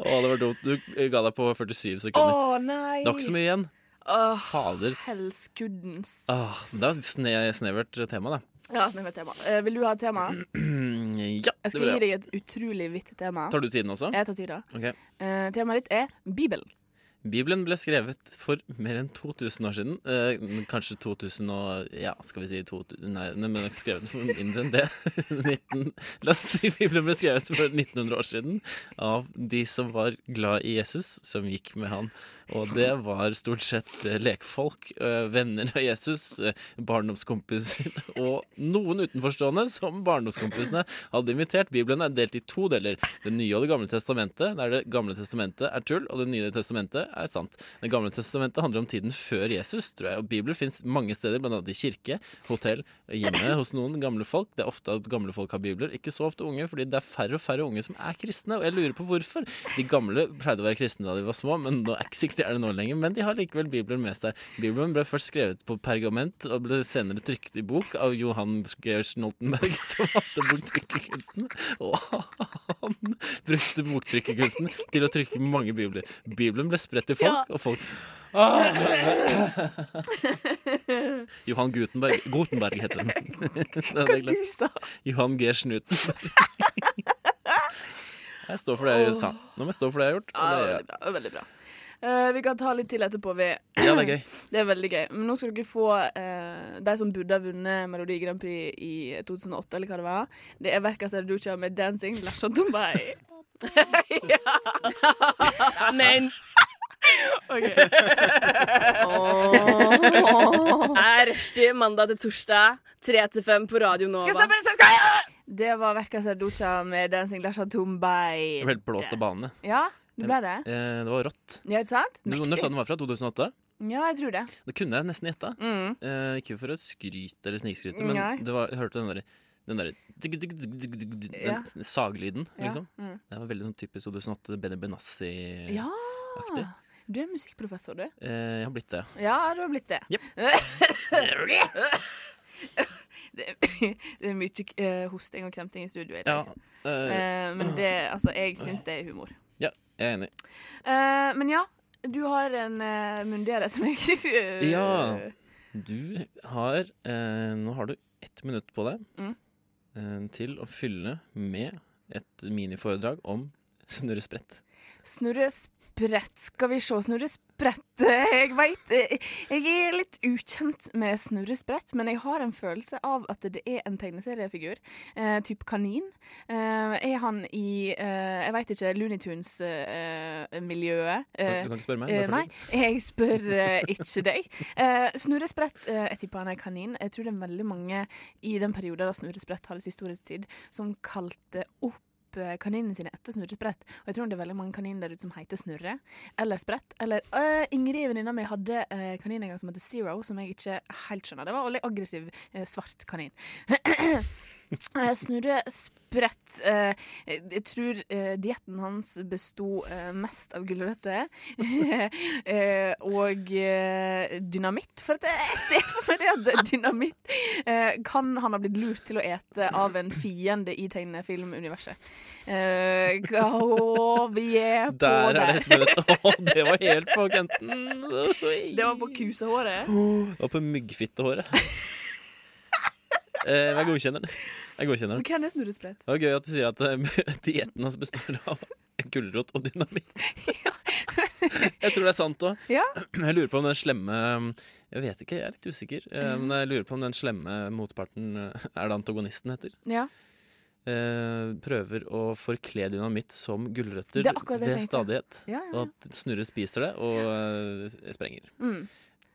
S7: Å, det var dumt. Du ga deg på 47
S6: Å
S7: sekunder.
S6: nei.
S7: det var ikke så mye igjen.
S6: Åh,
S7: Fader.
S6: Helskudens.
S7: Ah, det er et sne, snevert tema, da.
S6: Ja, snakk med tema. Eh, vil du ha et tema?
S7: ja,
S6: Jeg
S7: det
S6: skal
S7: vil
S6: gi
S7: jeg.
S6: deg et utrolig vidt tema.
S7: Tar du tiden også?
S6: Jeg tar tida.
S7: Ok.
S6: Eh, temaet ditt er Bibelen.
S7: Bibelen ble skrevet for mer enn 2000 år siden. Eh, kanskje 2000 og Ja, skal vi si 2000 Nei, den ble nok skrevet for mindre enn det. 19, la oss si Bibelen ble skrevet for 1900 år siden av de som var glad i Jesus, som gikk med han Og det var stort sett eh, lekfolk, eh, venner av Jesus, eh, barndomskompiser og noen utenforstående som barndomskompisene hadde invitert. Bibelen er delt i to deler. Det nye og det gamle testamentet, der det gamle testamentet er tull, og det nye testamentet er sant. Det gamle testamentet handler om tiden før Jesus, tror jeg. Og Bibelen fins mange steder, blant annet i kirke, hotell, hjemme hos noen gamle folk. Det er ofte at gamle folk har bibler, ikke så ofte unge, fordi det er færre og færre unge som er kristne. Og jeg lurer på hvorfor. De gamle pleide å være kristne da de var små, men nå er ikke sikkert de er det nå lenger. Men de har likevel Bibelen med seg. Bibelen ble først skrevet på pergament og ble senere trykt i bok av Johan Georg Noltenberg, som hadde boktrykkerkunsten. Og han brukte boktrykkerkunsten til å trykke mange bibler. Bibelen ble spredt til folk, og folk Johan Gutenberg Gutenberg heter den. Det hadde jeg glemt.
S6: Du sa.
S7: Johan G. Snutenberg. Jeg står for det jeg sa. Nå må jeg stå for det jeg har gjort.
S6: Ja,
S7: Og det
S6: veldig bra. Veldig bra. Eh, vi kan ta litt til etterpå. Vi.
S7: Ja, det er gøy.
S6: Det er veldig gøy. Men nå skal dere få eh, de som burde ha vunnet Melodi Grand Prix i 2008, eller hva det var. Det er Verka Serducha med 'Dancing La Chantombay'. ja. Men OK.
S15: Er rushtid mandag til torsdag, 3 til 5 på Radio Nova.
S6: Det var Verka Serducha med 'Dancing La Chantombay'.
S7: er helt blåst av banene.
S6: Ja, det ble det.
S7: Eh, Det var rått.
S6: Ja, ikke sant?
S7: Du, når sa den var fra? 2008?
S6: Ja, jeg tror det.
S7: Det kunne jeg nesten gjetta.
S6: Mm.
S7: Eh, ikke for å skryte eller snikskryte, men
S6: Nei.
S7: det var, jeg hørte den derre den derre tigg, tigg, tigg, tigg, tigg, tigg,
S6: Ja.
S7: den saglyden,
S6: Ja,
S7: liksom.
S6: mm.
S7: Det var veldig sånn typisk 2008 Benny Benassi-aktig.
S6: Ja! Du er musikkprofessor, du.
S7: Eh, jeg har blitt det.
S6: Ja, du har blitt det. det, det er mye eh, hosting og kremting i studio i dag.
S7: Ja, eh,
S6: Eh, men det, altså, jeg syns det er humor.
S7: Ja, jeg er enig.
S6: Eh, men ja, du har en uh, myndigere til meg.
S7: Ja. Du har eh, Nå har du ett minutt på deg
S6: Mm.
S7: eh, til å fylle med et miniforedrag om snurresprett.
S6: Snurre sprett, skal vi se. Snurre sprett. Jeg veit Jeg er litt ukjent med Snurre sprett, men jeg har en følelse av at det er en tegneseriefigur, eh, type kanin. Eh, er han i eh, Jeg veit ikke, eh, Lunitunes-miljøet?
S7: Du kan ikke spørre meg, vær så
S6: Eh, nei,
S7: snill.
S6: jeg spør eh, ikke deg. Eh, Snurre Sprett, eh, jeg tipper han er kanin. Jeg tror det er veldig mange i den perioden da Snurre Sprett hadde sin storhetstid, som kalte opp eh, kaninene sine etter Snurre Sprett. Og jeg tror det er veldig mange kaniner der ute som heter Snurre eller Sprett. Eller eh, Ingrid, venninna mi, hadde eh, kanin en gang som heter Zero, som jeg ikke helt skjønner. Det var en veldig aggressiv eh, svart kanin. Eh, Snurre Sprett eh, Jeg tror eh, dietten hans besto eh, mest av gulrøtter. eh, og eh, dynamitt. For at jeg ser for meg det at dynamitt eh, kan han ha blitt lurt til å ete av en fiende i tegnefilmuniverset. Eh, hva vi er på der.
S7: Der er det ett minutt! Å, det var helt på kanten! Det
S6: var på kusehåret.
S7: Det var på myggfittehåret. Eh, jeg godkjenner den. Jeg godkjenner
S6: Men
S7: den.
S6: Hvem er Snurre Sprett?
S7: Det var gøy at du sier at eh, dietten hans består av gulrot og dynamitt. Jeg tror det er sant òg.
S6: Ja.
S7: Jeg lurer på om den slemme Jeg vet ikke, jeg er litt usikker. eh,
S6: Mm.
S7: Men jeg lurer på om den slemme motparten eh, Er det antagonisten heter?
S6: Ja.
S7: eh, prøver å forkle dynamitt som gulrøtter
S6: Det er akkurat det jeg
S7: ved
S6: tenkte.
S7: stadighet.
S6: Ja, ja, ja.
S7: Og at Snurre spiser det og eh, sprenger.
S6: Mm.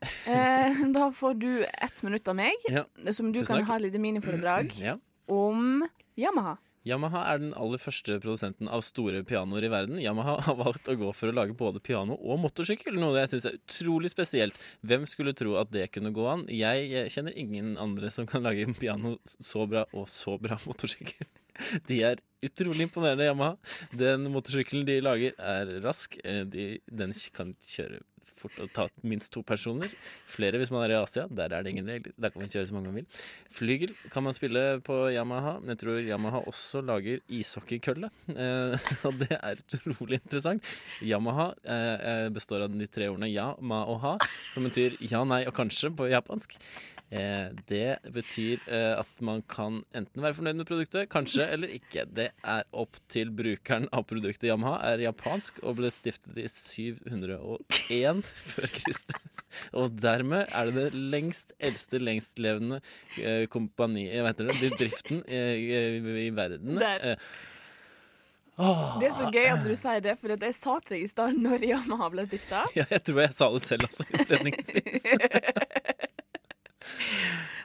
S6: Eh, da får du ett minutt av meg,
S7: Ja.
S6: som du
S7: Tusen
S6: kan
S7: takk.
S6: ha et lite miniforedrag
S7: Ja.
S6: om Yamaha.
S7: Yamaha er den aller første produsenten av store pianoer i verden. Yamaha har valgt å gå for å lage både piano og motorsykkel, noe jeg syns er utrolig spesielt. Hvem skulle tro at det kunne gå an? Jeg eh, kjenner ingen andre som kan lage en piano så bra og så bra motorsykkel. De er utrolig imponerende, Yamaha. Den motorsykkelen de lager, er rask. Eh, De, den kan kjøre fort og ta minst to personer. Flere hvis man er i Asia. Der er det ingen regler. Der kan man kjøre så mange man vil. Flygel kan man spille på Yamaha. Jeg tror Yamaha også lager ishockeykølle. Eh, og det er utrolig interessant. Yamaha eh, eh, består av de tre ordene ja, ma og ha, som betyr ja, nei og kanskje på japansk. Eh, det betyr eh, at man kan enten være fornøyd med produktet, kanskje, eller ikke. Det er opp til brukeren av produktet. Yamaha er japansk og ble stiftet i 701 før Kristus. Og dermed er det det lengst eldste lengstlevende eh, kompani... eh, Hva heter det? Bedriften eh, i, i verden.
S6: Der.
S7: Eh, Åh.
S6: Det er så gøy at du sier det, for at jeg sa til deg i stad når Yamaha ble stifta.
S7: Ja, jeg tror jeg sa det selv også, innledningsvis.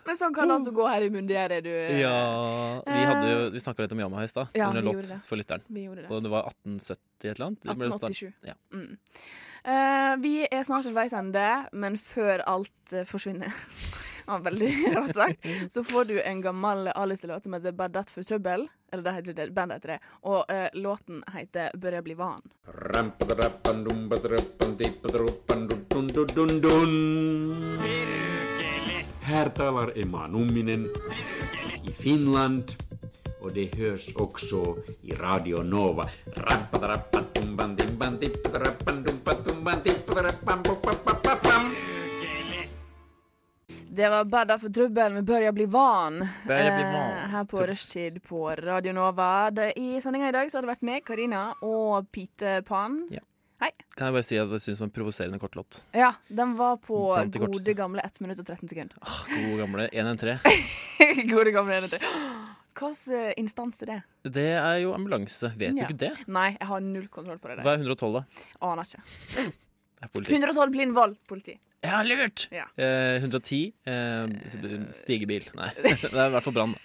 S6: Men sånn kan det altså gå her i mundigjerdet, du.
S7: Oh. ja, vi, hadde jo, vi snakka litt om Yamaha i stad,
S6: Eh, Ja,
S7: under
S6: vi
S7: en låt
S6: gjorde det.
S7: for lytteren.
S6: Vi gjorde det.
S7: Og det var 1870 et eller annet? Det ble startet-
S6: 1887.
S7: Ja.
S6: Mm. Eh, vi er snart ved veis ende, men før alt eh, forsvinner Det var Veldig rart sagt. Så får du en gammel Alice-låt som heter 'Bad That for Trouble'. Eller det heter det, bandet heter det. Og eh, låten heter 'Bør jeg bli van'.
S16: Här talar Emma Numminen i Finland och det hörs också i Radio Nova.
S6: Det var 'Bad That for Trouble' med 'Bør jeg bli van'.
S16: Bør jeg bli
S6: Eh,
S16: van.
S6: her på
S16: Tusen.
S6: Rushtid på Radio Nova. Det, I sendinga i dag så har det vært meg, Karina, og Pite Pan.
S7: Ja.
S6: Hei.
S7: Kan jeg bare si at jeg syns det var en provoserende kort låt.
S6: Ja, den var på
S7: Blant de
S6: gode
S7: korteste.
S6: gamle 1 minutt og 13 sekunder.
S7: God Ah, gamle 113.
S6: Gode gamle enheter. Hvilken instans er det?
S7: Det er jo ambulanse. Vet du
S6: Ja.
S7: ikke det?
S6: Nei, jeg har null kontroll på det der.
S7: Hva er 112, da?
S6: Aner ikke.
S7: Det er politi.
S6: 112 blind vold, politi.
S7: Ja, lurt!
S6: Ja.
S7: Eh, 110 eh, Stigebil. Nei, det er i hvert fall brann.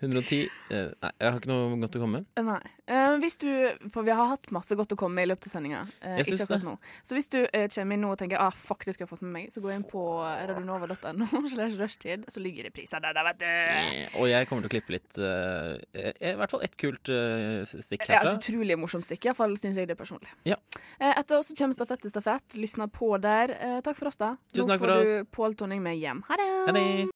S7: 110 eh, Nei, jeg har ikke noe godt å komme med.
S6: Nei. Eh, hvis du, for vi har hatt masse godt å komme med i løpet av Eh, sendinga.
S7: Jeg syns det.
S6: Så hvis du eh, kommer inn nå og tenker ah, fuck, det skulle jeg fått med meg, så gå inn på eh, radionova.no, slash rushtid, så ligger det priser der, da, vet du.
S7: Eh, Og jeg kommer til å klippe litt eh, eh, I hvert fall ett kult eh,
S6: Ja, et
S7: stikk herfra.
S6: utrolig morsomt stykke. Iallfall syns jeg det personlig.
S7: Ja.
S6: Eh, Etter oss så kommer Stafett til stafett. Lysna på der. Eh, Takk for oss, da.
S7: Tusen takk
S6: Nå
S7: for oss.
S6: får du Pål Tonning med hjem. Ha det.
S7: Ha det!